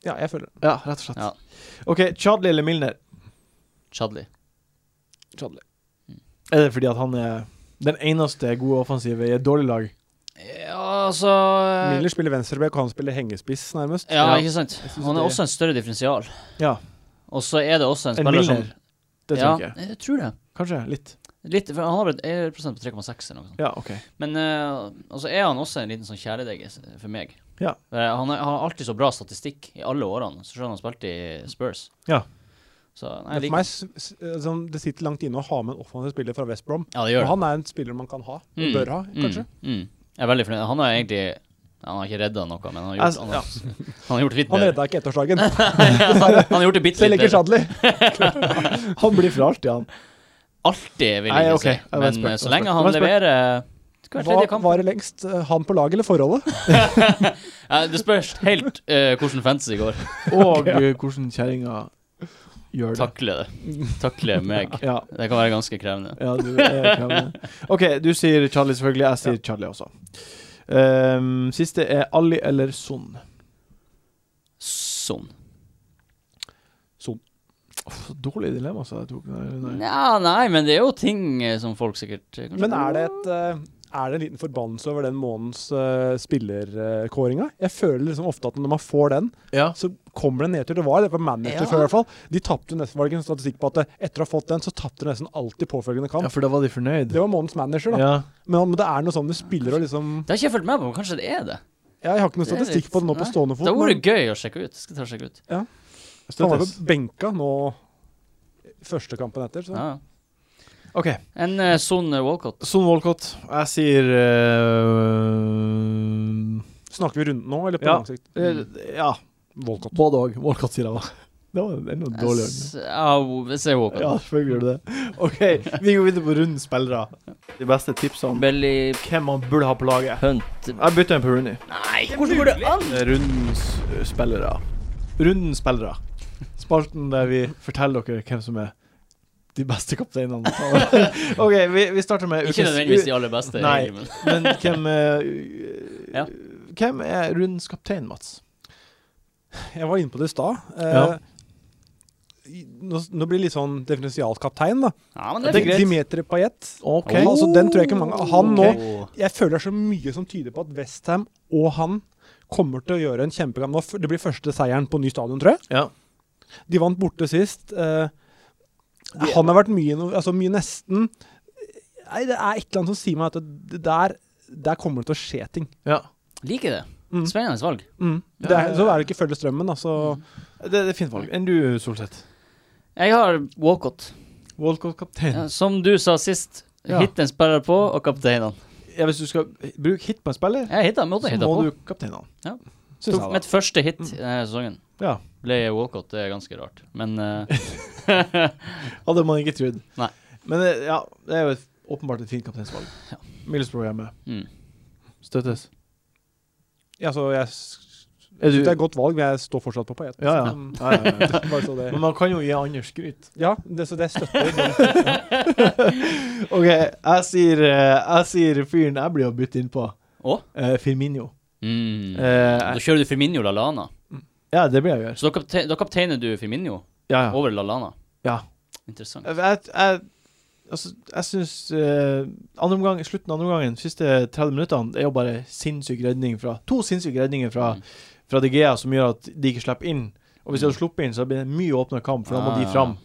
D: Ja, jeg føler det.
A: Ja, rett og slett.
B: Ja.
A: OK, Chadli eller Milner?
B: Chadli.
D: Chadli.
A: Er det fordi at han er den eneste gode offensive i et dårlig lag?
B: Ja, altså
A: eh,
D: Miller spiller venstreback, og han spiller hengespiss, nærmest.
B: Ja,
A: Ja.
B: ikke sant?
D: Jeg synes
B: Han er
D: det-
B: også en større differensial.
A: Ja.
B: Og så er det også en
A: En
B: spiller som
A: Milner? Det
B: ja,
A: tror jeg ikke.
B: jeg tror det.
A: Kanskje litt.
B: Litt, for han har vel et prosent på 3,6 eller noe sånt.
A: Ja, OK.
B: Men eh, og så er han også en liten sånn kjæledegge s- for meg.
A: Ja.
B: Eh, han har- har alltid så bra statistikk i alle årene, så selv om han spilte i Spurs.
A: Ja.
B: Så nei, jeg
D: Det, er for
B: liker
D: meg, s- s- som det sitter langt inne å ha med en offensiv spiller fra West Brom.
B: Ja, det gjør
D: Og
B: det.
D: han er en spiller man kan ha, og
B: Mm.
D: bør ha, kanskje.
B: Mm. Mm. Jeg er veldig fornøyd. Han har egentlig Han har ikke redda noe, men han har gjort,
A: Altså,
B: han har, han har gjort det litt
D: Han
B: bedre.
D: redda ikke ettårsdagen.
B: han har gjort det bitte
D: Selv
B: litt
D: ikke
B: bedre.
D: Chadli. sånn.
A: Han blir for alltid, han.
B: Alltid, vil
A: Nei,
B: jeg ikke
A: ok. Jeg
B: si.
A: var
B: Men
A: spent,
B: eh,
A: jeg
B: så
A: var
B: lenge
A: spent.
B: han
A: Jeg var
B: leverer hver
D: Hva
B: tredje kamp
D: var det lengst? eh, Han på laget eller forholdet?
B: Eh, Det spørs helt eh, hvordan fantasy går.
A: Og eh, hvordan kjerringa gjør det.
B: Takle det. Takle meg.
A: Ja,
B: Det kan være ganske krevende.
A: ja, du er krevende. OK, du sier Charlie selvfølgelig. Jeg sier Charlie også. Ehm, siste er Ali eller Son.
B: Sånn.
A: Uff, så dårlig dilemma, så jeg tok den der. Nei.
B: Nja, nei, men det er jo ting eh, som folk sikkert eh, kanskje-
D: Men er det, et, eh, er det en liten forbannelse over den månedens spillerkåringa? Jeg føler liksom ofte at når man får den,
A: Ja.
D: så kommer det en nedtur. Det var det på Manchester
B: Ja.
D: før, i hvert fall. De tapte jo nesten, var det ikke en statistikk på at eh, etter å ha fått den, så tapte de nesten alltid påfølgende
A: ja,
D: kamp.
A: for da var de fornøyd.
D: Det var månedens manager, da.
A: Ja.
D: Men om det er noe sånn med spillere og liksom
B: Det har ikke jeg fulgt med på, men kanskje det er det.
D: ja, Jeg har ikke noe
B: Det er
D: statistikk
B: litt-
D: på det nå på
B: nei.
D: stående fot.
B: Det hadde
D: men
B: vært gøy å sjekke ut. Skal jeg ta og sjekke ut.
D: Han var
A: Støttes.
D: på benka nå første kampen etter, så
B: Ja.
A: OK.
B: En uh, Son eh, Walcott.
A: Son Walcott. Jeg sier eh,
D: snakker vi runden nå, eller på
A: Ja.
D: lang sikt?
A: eh, Ja,
D: Volkov.
A: både òg. Walcott sier jeg da. Det var enda dårligere.
B: S- Ja, vi ser Walcott.
A: Ja, selvfølgelig gjør du det. OK, vi går videre på rundens spillere. De beste tipsene om
B: Belly
A: hvem man burde ha på laget.
B: Hunt
A: Jeg bytter en på Rooney. Eh,
B: Nei, hvordan går det an?
A: Rundens ø, spillere. Rundens spillere. Spalten der vi forteller dere hvem som er de beste kapteinene. OK, vi, vi starter med
B: Ikke nødvendigvis de aller beste.
A: Nei.
B: egentlig, men-
A: Men hvem er
B: Ja.
A: Hvem er rundens kaptein, Mats?
D: Jeg var inne på det i stad. Eh,
A: Ja.
D: i- Nå, nå blir det litt sånn definisjonskaptein, da.
B: Ja, men
A: Ja,
B: det er
A: det er
B: fint.
A: greit.
D: Dimitri Payet.
A: OK.
D: Altså, den tror jeg ikke mange Han nå
A: Ok.
D: Jeg føler det er så mye som tyder på at Westham og han kommer til å gjøre en kjempekamp. Nå f- Det blir første seieren på ny stadion, tror jeg.
A: Ja.
D: De vant borte sist. Eh, han har vært mye, no- altså mye nesten. Nei, det er et eller annet som sier meg at det det der, der kommer det til å skje ting.
A: ja.
B: Liker det.
D: Mm.
B: Spennende valg.
D: Mm.
A: Ja,
D: Det er,
A: ja, Mm.
D: så
A: ja.
D: er det ikke følge strømmen, da. Så
A: Det, det er fint valg. Enn du, Solseth?
B: Jeg har Walcott.
A: Walcott-kaptein.
B: Ja, som du sa sist,
A: Ja.
B: hitten spiller på, og kapteinene.
A: Ja, hvis du skal bruke hit på en spiller,
B: Jeg hitta, måtte
A: så
B: hitta
A: må
B: på.
A: du kapteine han.
B: Ja.
A: Synes jeg, da.
B: Mitt første hit i denne sesongen
A: Ja.
B: ble Walcott. Det er ganske rart, men eh,
A: Hadde man ikke trodd.
B: Nei.
A: Men eh, ja, det er jo et, åpenbart et fint kapteinsvalg.
B: Ja.
A: Middlesbrough hjemme.
B: mm.
A: Støttes.
D: Ja, så jeg s-
A: Er du
D: Det er et godt valg, men jeg står fortsatt på poet.
A: Ja, ja.
D: Mm,
A: ja, ja, ja.
D: Bare så det.
A: Men man kan jo gi andre skryt.
D: Ja, det, så det støtter
A: OK, jeg sier, eh, jeg sier fyren jeg blir å bytte inn på.
B: Å?
A: Eh, Firmino.
B: Mm.
A: Eh,
B: Da kjører du Firminio Lalana.
A: ja, det blir jeg å gjøre.
B: Så da, kapte da kapteiner du Firminio
A: Ja, ja.
B: over Lalana.
A: ja.
B: Interessant.
A: Jeg, jeg, altså, jeg syns slutten av andre omgangen, siste 30 minuttene, det er jo bare sinnssyk redning fra To sinnssyke redninger fra,
B: Mm.
A: fra De Gea som gjør at de ikke slipper inn. Og hvis de
D: Mm.
A: hadde sluppet inn, så blir det en mye åpnere kamp, for da må
B: Ah,
A: de
B: ja.
A: fram.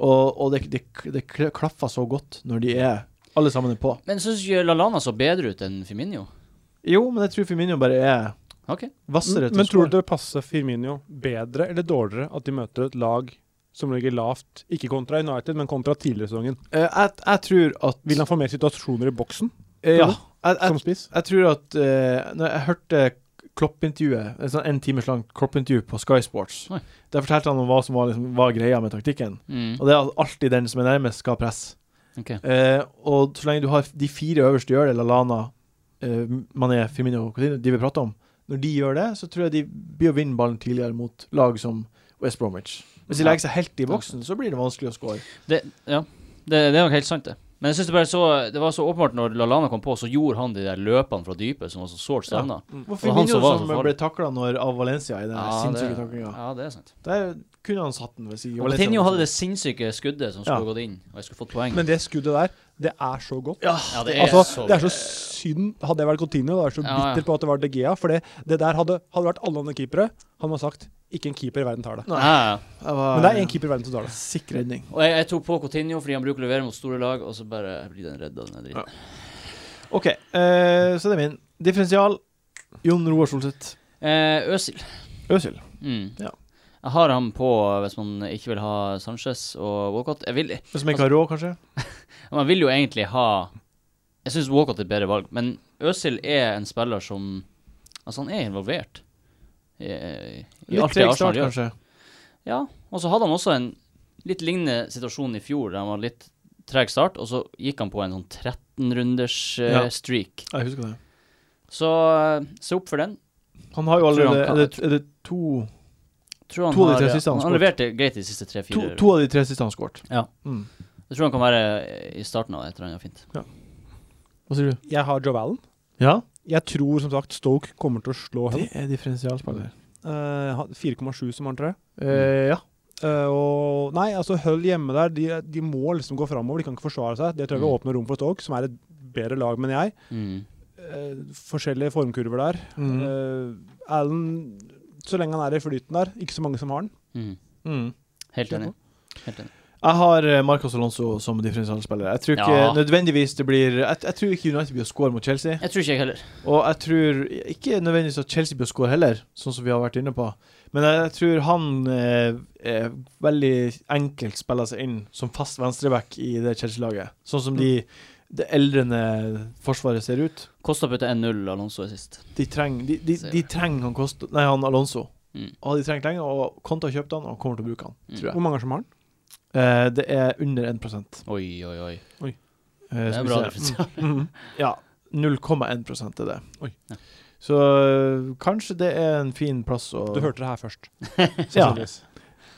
A: Og, og det, det, det kl- klaffer så godt når de er alle sammen er på.
B: Men syns ikke Lalana så bedre ut enn Firminio?
A: Jo, men jeg tror Firmino bare er
B: OK.
A: hvassere til
D: det. Mm, Men
A: å
D: tror
A: skåre.
D: du det passer Firmino bedre eller dårligere at de møter et lag som ligger lavt, ikke kontra United, men kontra tidligere i sesongen?
A: Eh, jeg, jeg tror at
D: Vil han få mer situasjoner i boksen
A: Eh, Ja. Jeg, jeg,
D: som spiss?
A: Jeg tror at eh, Når jeg hørte Klopp-intervjuet Et sånn en times langt Klopp-intervju på Sky Sports
B: Oi.
A: Der fortalte han om hva som var, liksom, var greia med taktikken
B: Mm.
A: Og det er at alltid den som er nærmest skal presse
B: Ok.
A: Eh, Og så lenge du har de fire øverste gjør det Lallana, eh, Mané, Firmino og Coutinho De vi prater om Når de gjør det Så tror jeg de blir å vinne ballen tidligere Mot lag som West Bromwich Hvis de
B: Ja.
A: legger seg helt i boksen Så blir det vanskelig å score
B: Det, ja. det, det er nok helt sant, det. Men jeg synes det bare så Det var så åpenbart når Lallana kom på, så gjorde han de der løpene fra dypet som var så sårt savna.
A: Og
B: Mm. Og han
A: Firmino
B: som var
A: som
B: så farlig.
A: ble taklet når, av Valencia I den
B: Ja,
A: sinnssyke
B: det-
A: taklingen
B: Ja, det er sant.
A: Der kunne han satt den ved siden
B: Og Coutinho hadde det sinnssyke skuddet som skulle
A: sånn- Ja.
B: gått inn, og jeg skulle fått poeng.
D: Men det skuddet der, det er så godt.
A: Ja,
B: ja, det er
D: Altså,
B: så
D: det er så synd Hadde jeg vært Coutinho, hadde jeg vært så
B: Ja, ja.
D: bitter på at det var De Gea. For det, det der hadde, hadde vært alle andre keepere. Han hadde sagt 'ikke en keeper i verden tar det'.
A: Nei.
B: Ja, ja.
A: jeg var,
D: Men det er én keeper i verden som tar det.
A: Sikk redning.
B: Og jeg, jeg tok på Coutinho fordi han bruker å levere mot store lag, og så bare blir den redda, den der dritten.
A: OK, eh, så det er min. Differensial. Jon Roar Solseth.
B: Eh, Øsil.
A: Øsil.
B: Mm.
A: Ja.
B: Jeg har ham på hvis man ikke vil ha Sanchez og Walcott. Jeg vil,
A: Som ikke har råd, kanskje?
B: man vil jo egentlig ha Jeg syns Walcott er et bedre valg, men Øsil er en spiller som Altså, han er involvert i, i
A: Litt
B: alt det
A: treg
B: Arsenal
A: start,
B: gjør.
A: kanskje.
B: Ja, og så hadde han også en litt lignende situasjon i fjor, der han var litt treg start, og så gikk han på en sånn 13-runders eh,
A: Ja.
B: streak.
A: Jeg husker det.
B: Så eh, se opp for den.
A: Han har jo allerede
B: Tror han
A: Er det,
B: kan-
A: er det to,
B: Tror han
A: To av de
B: har, eh,
A: tre siste han
B: han,
A: skåret.
B: leverte greit de siste
A: to,
B: tre-fire.
A: to av de tre siste han skåret?
B: Ja.
A: Mm.
B: Jeg tror han kan være eh, i starten av et eller annet fint.
A: Hva sier du?
D: Jeg har Joe Allen.
A: Ja,
D: Jeg tror som sagt Stoke kommer til å slå
A: det
D: henne.
A: er differensialspiller.
D: Eh, han- 4,7 som han, tror jeg.
A: Eh, ja.
D: Eh, og Nei, altså Hull hjemme der, de, de må liksom gå framover. De kan ikke forsvare seg. Det tror jeg vil
B: Mm.
D: åpne rom for Stoke, som er et bedre lag, mener jeg.
B: Mm.
D: Eh, forskjellige formkurver der.
A: Mm.
D: Eh, Allen, så lenge han er i flyten der, ikke så mange som har den.
B: Mm.
A: Mm.
B: Helt enig. Helt enig.
A: Jeg har eh, Marcos Alonso som differensialspiller. Jeg tror ikke
B: Ja.
A: nødvendigvis det blir jeg, jeg tror ikke United blir å score mot Chelsea.
B: Jeg tror ikke jeg heller.
A: Og jeg tror ikke nødvendigvis at Chelsea bør score heller, sånn som vi har vært inne på. Men jeg, jeg tror han eh, eh, veldig enkelt spiller seg inn som fast venstreback i det Chelsea-laget. Sånn som de, det eldrende forsvaret ser ut.
B: Kosta putte 1-0, Alonso er sist.
A: De trenger de, de, de trenger han Kosta Nei, han Alonso.
B: Mm.
A: Og de trenger lenge, og Konta har kjøpt han og kommer til å bruke han,
B: Mm.
A: tror jeg.
D: Hvor mange som har den?
A: Eh, det er under 1 eh,
B: Oi, oi, oi.
A: som
B: Det er
A: vi
B: bra
A: ser.
B: differensial.
D: Mm.
A: Ja. 0,1 er det.
D: Oi.
B: Ja.
A: Så eh, kanskje det er en fin plass å
D: Du hørte det her først.
A: Ja.
D: Sannsynligvis.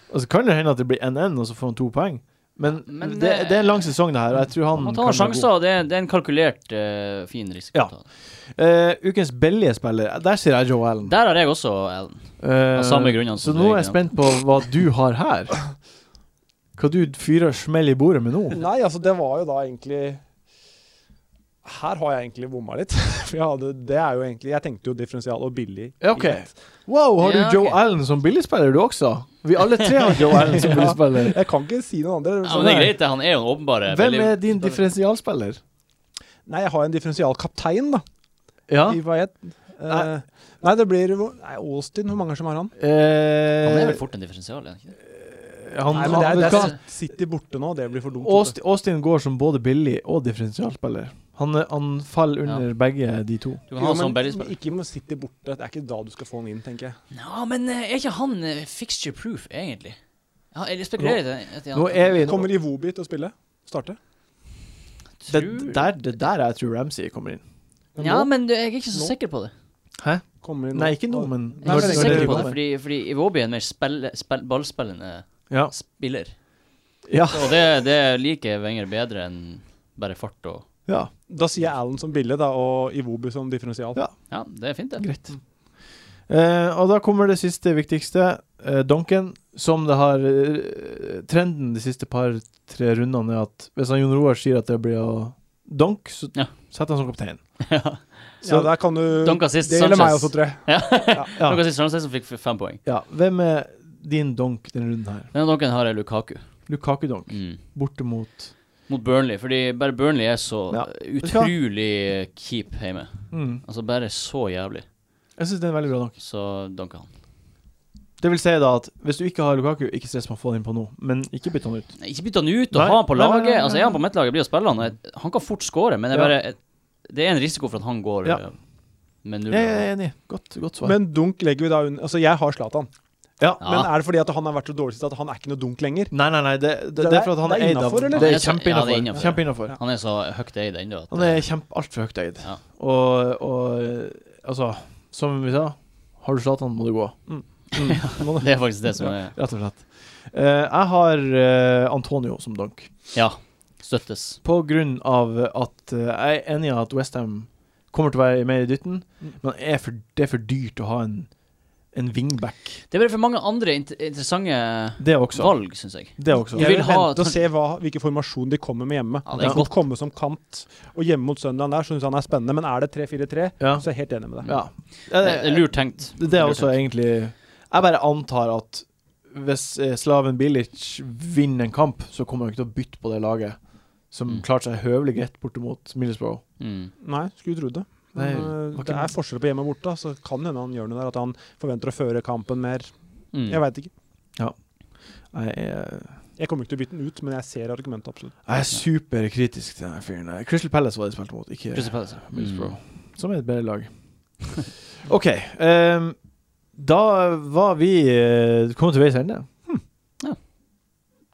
A: Altså, kan det hende at det blir 1-1, og så får han to poeng. Men,
B: Men
A: det,
B: det-
A: det er en lang sesong, det her. og Jeg tror han
B: Han
A: kan
B: tar
A: være
B: sjanser, og det, er- det er en kalkulert, eh, fin risiko.
A: Ja.
B: å ta.
A: god. Eh, ukens billige spiller, der sier jeg Joe Allen.
B: Der har jeg også Allen.
A: Eh,
B: Av samme altså, grunnene
A: så
B: som
A: nå
B: du,
A: er jeg
B: ikke
A: spent på hva du har her. Hva du fyrer smell i bordet med nå.
D: Nei, altså det var jo da egentlig Her har jeg egentlig bomma litt. For jeg, hadde, det er jo egentlig, jeg tenkte jo differensial og billig.
A: Ja, ok. Wow, har du
B: Ja,
A: Joe
B: ok.
A: Allen som billigspiller, du også? Vi alle tre har Joe Allen som
D: Ja.
A: billigspiller.
D: Jeg kan ikke si noen andre.
B: Ja, men det er greit, det. Han er jo en åpenbare
A: Sånn Hvem
B: veldig-
A: er din differensialspiller?
D: Nei, jeg har en differensialkaptein, da.
A: Ja.
D: I Payet. Eh,
A: Nei.
D: nei, det blir nei, Austin. Hvor mange som har han?
B: Han er
A: Eh,
B: vel fort en differensial, er han ikke det?
A: han,
D: Nei, men det er,
A: han,
D: det
A: vet du hva?
D: er City borte nå, det blir for dumt. vet
A: Aust- Austin går som både billig og differensialspiller. Han, er- han faller under begge de to.
B: Du
D: du.
B: kan ha
D: Jo,
B: sånn
D: men
B: bellyspiller.
D: ikke med City borte. Det er ikke da du skal få han inn, tenker jeg.
B: Ja, men eh, er ikke han eh, fixture proof, egentlig? Ja, jeg spekulerer i det. at han-
A: Nå er vi
D: Kommer Iwobi til å spille? Starte?
A: det,
B: Tror-
A: der, det der jeg tror Ramsey kommer inn.
B: Ja,
D: nå-
B: men du, jeg er ikke så
D: Nå?
B: sikker på det.
A: Hæ?
D: Kommer inn
A: Nei, ikke nå, men
B: Jeg er
D: Når-
B: ikke så
D: når
B: sikker
D: det
B: på det,
D: kommer.
B: fordi, fordi Iwobi er en mer spille, spill, ballspillende
A: Ja.
B: spiller.
A: Ja.
B: Og det, det liker Wenger bedre enn bare fart og
A: ja.
D: Da sier jeg Allen som bille, da, og Iwobi som differensial.
A: Ja.
B: Ja, Mm. det er fint, det.
A: Greit. Eh, og da kommer det siste viktigste. eh, Duncan, som det har eh, Trenden de siste par-tre rundene er at hvis han Jon Roar sier at det blir å donk, så
B: Ja.
A: setter han som kaptein.
B: ja.
D: Så der kan du
B: Dunk assist
D: Det gjelder meg
B: Sanchez.
D: også, tror jeg.
B: Ja.
A: Ja.
B: Noen siste som fikk f- fem poeng.
A: Ja. Hvem er din donk denne runden her?
B: Men noen har jeg Lukaku.
A: Lukaku-donk,
B: Mm.
A: borte mot
B: Mot Burnley, fordi bare Burnley er så
A: Ja.
B: utrolig keep hjemme.
A: mm.
B: Altså bare så jævlig.
A: Jeg syns det er en veldig bra donk.
B: Så dunka han.
A: Det vil si da at hvis du ikke har Lukaku, ikke stress med å få han inn på nå, men ikke bytt han ut.
B: Nei, Ikke bytt han ut og
A: Nei,
B: ha han på
A: nei, nei,
B: laget.
A: nei, nei.
B: Altså Er han på mitt lag, jeg blir å spille han. og jeg- Han kan fort score, men det er
A: Ja.
B: bare Det er en risiko for at han går
A: Ja.
B: eh, med null.
A: Jeg er enig. Godt, godt svar.
D: Men dunk legger vi da under Altså, jeg har Zlatan.
A: ja.
B: Ja.
D: Men er det fordi at han har vært så dårlig sist at han er ikke noe dunk lenger?
A: Nei, nei, nei. Det, det,
D: Det
A: det
D: er-
A: er for at han
D: det
A: er
D: er
A: eid av
D: innenfor, eller?
A: Det er
B: Ja, så- ja, det er
A: kjempeinnafor.
B: innenfor.
A: Kjempeinnafor.
B: Han er så høyt eid ennå at
A: Han er kjempe altfor høyt eid.
B: Ja.
A: Og, og eh, altså, som vi sa, har du Zlatan, må du gå. Mm. Må du-
B: Det er faktisk det som er
A: Rett og slett. Eh, jeg har eh, Antonio som donk,
B: Ja. Støttes.
A: på grunn av at eh, jeg er enig i at Westham kommer til å være mer i dytten,
D: Mm.
A: men er for, det er for dyrt å ha en, en wingback.
B: Det er bare for mange andre int interessante
A: Det også.
B: valg, syns jeg.
A: Det også.
B: Ja.
D: Jeg
B: vil
D: vil
B: ha-
D: vente og se hva, hvilken formasjon de kommer med hjemme.
B: Ja, det er
D: de kan komme som kant, og hjemme mot søndagen der syns han er spennende. Men er det 3-4-3,
A: Ja.
D: så er jeg helt enig med deg.
A: ja.
B: Det det er lurt tenkt.
A: Det det er
B: Lurt
A: også
B: tenkt.
A: egentlig Jeg bare antar at hvis eh, Slaven Bilic vinner en kamp, så kommer han ikke til å bytte på det laget som
B: Mm.
A: klarte seg høvelig greit bortimot Middlesbrough.
B: Mm.
D: Nei, skulle tro det. Men,
A: Nei,
D: øh,
A: var ikke
D: det er forskjell på hjemme og borte, så kan hende han gjør noe der. At han forventer å føre kampen mer.
B: Mm.
D: Jeg veit ikke.
A: Jeg er,
D: Jeg kommer ikke til å bytte den ut, men jeg ser argumentet absolutt.
A: jeg er superkritisk til denne fyren. her. Crystal Palace var de spilte mot, ikke
B: Crystal Palace.
A: Middlesbrough. Mm. Som er et bedre lag. OK. ehm, da var vi eh, kommet til veis ende.
B: Ja.
A: Hm.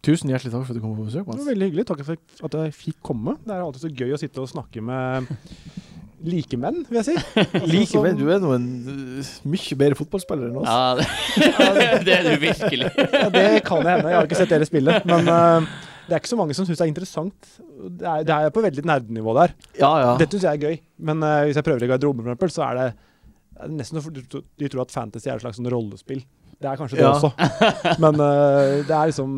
A: Tusen hjertelig takk for at du kom på besøk,
D: Det var
A: Mats.
D: veldig hyggelig. Takk for at jeg fikk komme. Det er alltid så gøy å sitte og snakke med likemenn, vil jeg si. Altså,
A: Likevel,
D: som-
A: du er sånn- nå en eh, mye bedre fotballspiller enn oss.
B: Ja, det, det er du virkelig.
D: Ja, det kan hende. Jeg har ikke sett dere spille. Men øh, det er ikke så mange som syns det er interessant. Det er, det er på veldig nerdenivå der.
A: Ja, ja.
D: Dette syns jeg er gøy, men øh, hvis jeg prøver i garderoben, for eksempel, så er det er det nesten så de tro- de tror at fantasy er et slags sånn rollespill. Det er kanskje det
A: Ja.
D: også, men øh, det er liksom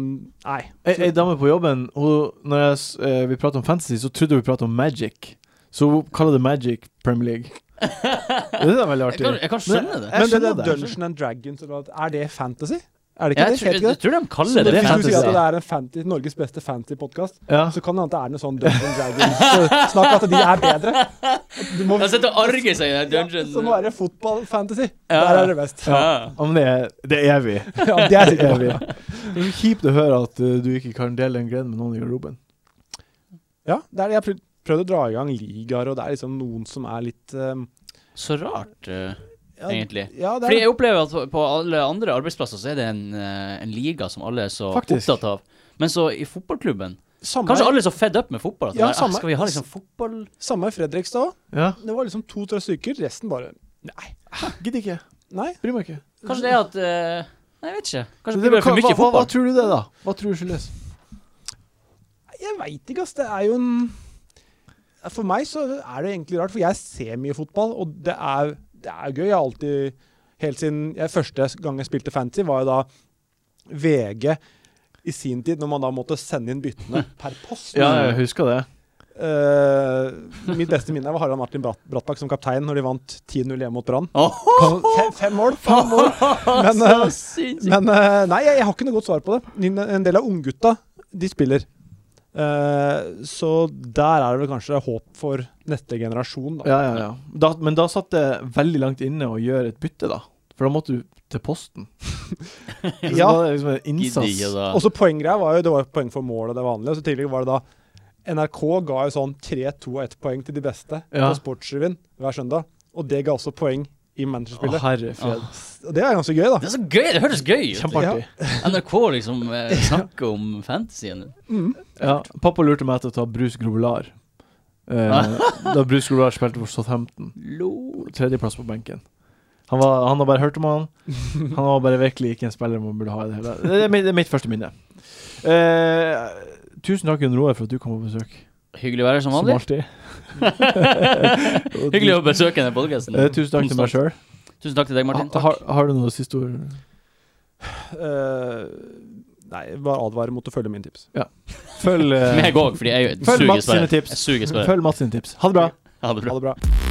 D: Nei.
A: Ei, ei dame på jobben, hun, når jeg, s- eh, vi prater om fantasy, så trodde hun vi pratet om Magic. Så hun kaller det Magic Premier League. Det er veldig
B: Jeg kan,
A: artig.
B: jeg kan skjønne det.
A: jeg
D: men det
A: skjønner
D: der
A: det.
D: Dungeon and Dragons, eller hva- er det fantasy? Er det ikke
B: Jeg,
D: det?
B: tror,
D: Heter ikke
B: jeg
D: det?
B: tror de
D: Så
B: kaller
A: det
B: det
A: er
D: hvis du
B: fantasy.
D: sier at
A: fantasy.
D: det er en fantasy, Norges beste fantasy-podkast,
A: Ja.
D: så kan det hende at det er noe sånn Dungeon and Dragons. Snakk at de er bedre. Du må,
B: Jeg sitter og arger seg i den
D: Ja, så nå
B: dungeon.
D: er det fotball-fantasy.
B: Ja.
D: Der er det best.
B: Ja.
A: Ja, men det er, det er vi.
D: Ja, det er
A: Det er
D: sikkert
A: vi. Det er så kjipt å høre at eh, du ikke kan dele den gleden med noen i garderoben.
D: Ja, det er, jeg har prøvd- prøvd å dra i gang ligaer, og det er liksom noen som er litt um,
B: Så rart, eh,
D: ja,
B: egentlig.
D: Ja, det
B: Fordi
D: er,
B: jeg opplever at på- på alle andre arbeidsplasser så er det en, eh, en liga som alle er så
A: Faktisk.
B: opptatt av. Men så i fotballklubben
D: samme,
B: Kanskje alle er så fed up med fotball. At
D: Ja,
B: ja,
D: samme-
B: skal vi ha liksom fotball
D: samme i Fredrikstad òg.
A: Ja.
D: Det var liksom to-tre stykker. Resten bare Nei.
A: Gidder ikke.
D: Nei.
A: Bryr meg ikke.
B: Kanskje det er at eh, Nei, jeg vet ikke. Kanskje det
A: Det-
B: blir for
A: hva-
B: mye
A: hva, hva, hva
B: fotball.
A: tror du det, da? Hva tror du skyldes?
D: Jeg veit ikke, ass. Det er jo en For meg så er det egentlig rart, for jeg ser mye fotball, og det er, det er gøy. Jeg har alltid Helt siden jeg, første gang jeg spilte fantasy, var jo da VG i sin tid, når man da måtte sende inn byttene per post.
A: husker det.
D: Eh, mitt beste minne var Harald Martin Bratt Brattbakk som kaptein når de vant 10-0 hjemme mot Brann.
B: Åh,
D: Kan- Fem, fem mål! Fem mål. Men,
B: så
D: eh,
B: sinnssykt.
D: men eh, nei, jeg, jeg har ikke noe godt svar på det. Min- En del av unggutta, de spiller. Eh, så der er det vel kanskje håp for neste generasjon, da.
A: Ja, ja, ja. Da, men da satt det veldig langt inne å gjøre et bytte, da. For da måtte du til posten. Så
D: Ja.
A: var det liksom en
B: Gidder ikke
A: innsats.
B: da.
D: Og så poenggreia var jo Det var jo poeng for mål og det vanlige. Og så tidligere var det da NRK ga jo sånn 3, 2 og 1 poeng til de beste
A: Ja.
D: på Sportsrevyen hver søndag. Og det ga også poeng i
A: Å,
D: managerspillet.
A: herre fred.
D: Og det er ganske gøy, da.
B: Det er så gøy! Det høres gøy ut!
A: Kjempeartig.
B: NRK liksom eh, snakker om fantasyen.
D: Mm.
A: Ja. Pappa lurte meg til å ta Bruce Grobelar. Eh, da Bruce Grobelar spilte for Southampton.
B: Lol.
A: Tredjeplass på benken. Han, var, han har bare hørt om han. Han var bare virkelig ikke en spiller man burde ha i det hele Det er mitt, det er mitt første minne. Eh, tusen takk, Jon Roar, for at du kom på besøk.
B: Hyggelig å være her som
A: Som
B: vanlig.
A: alltid. Og
B: Hyggelig å besøke denne podkasten.
A: Eh, tusen takk til meg sjøl.
B: Tusen takk til deg, Martin.
A: Har,
B: Takk.
A: har du noe siste ord?
D: Eh, nei, bare advare mot å følge mine tips.
A: Følg, eh,
B: Meg òg, fordi jeg
A: Følg
B: suger
A: Mats sine
B: sperre.
A: tips.
B: Jeg suger sperre.
A: følg Mats sine tips. Ha det bra.
B: Ha det bra.
D: Ha det bra.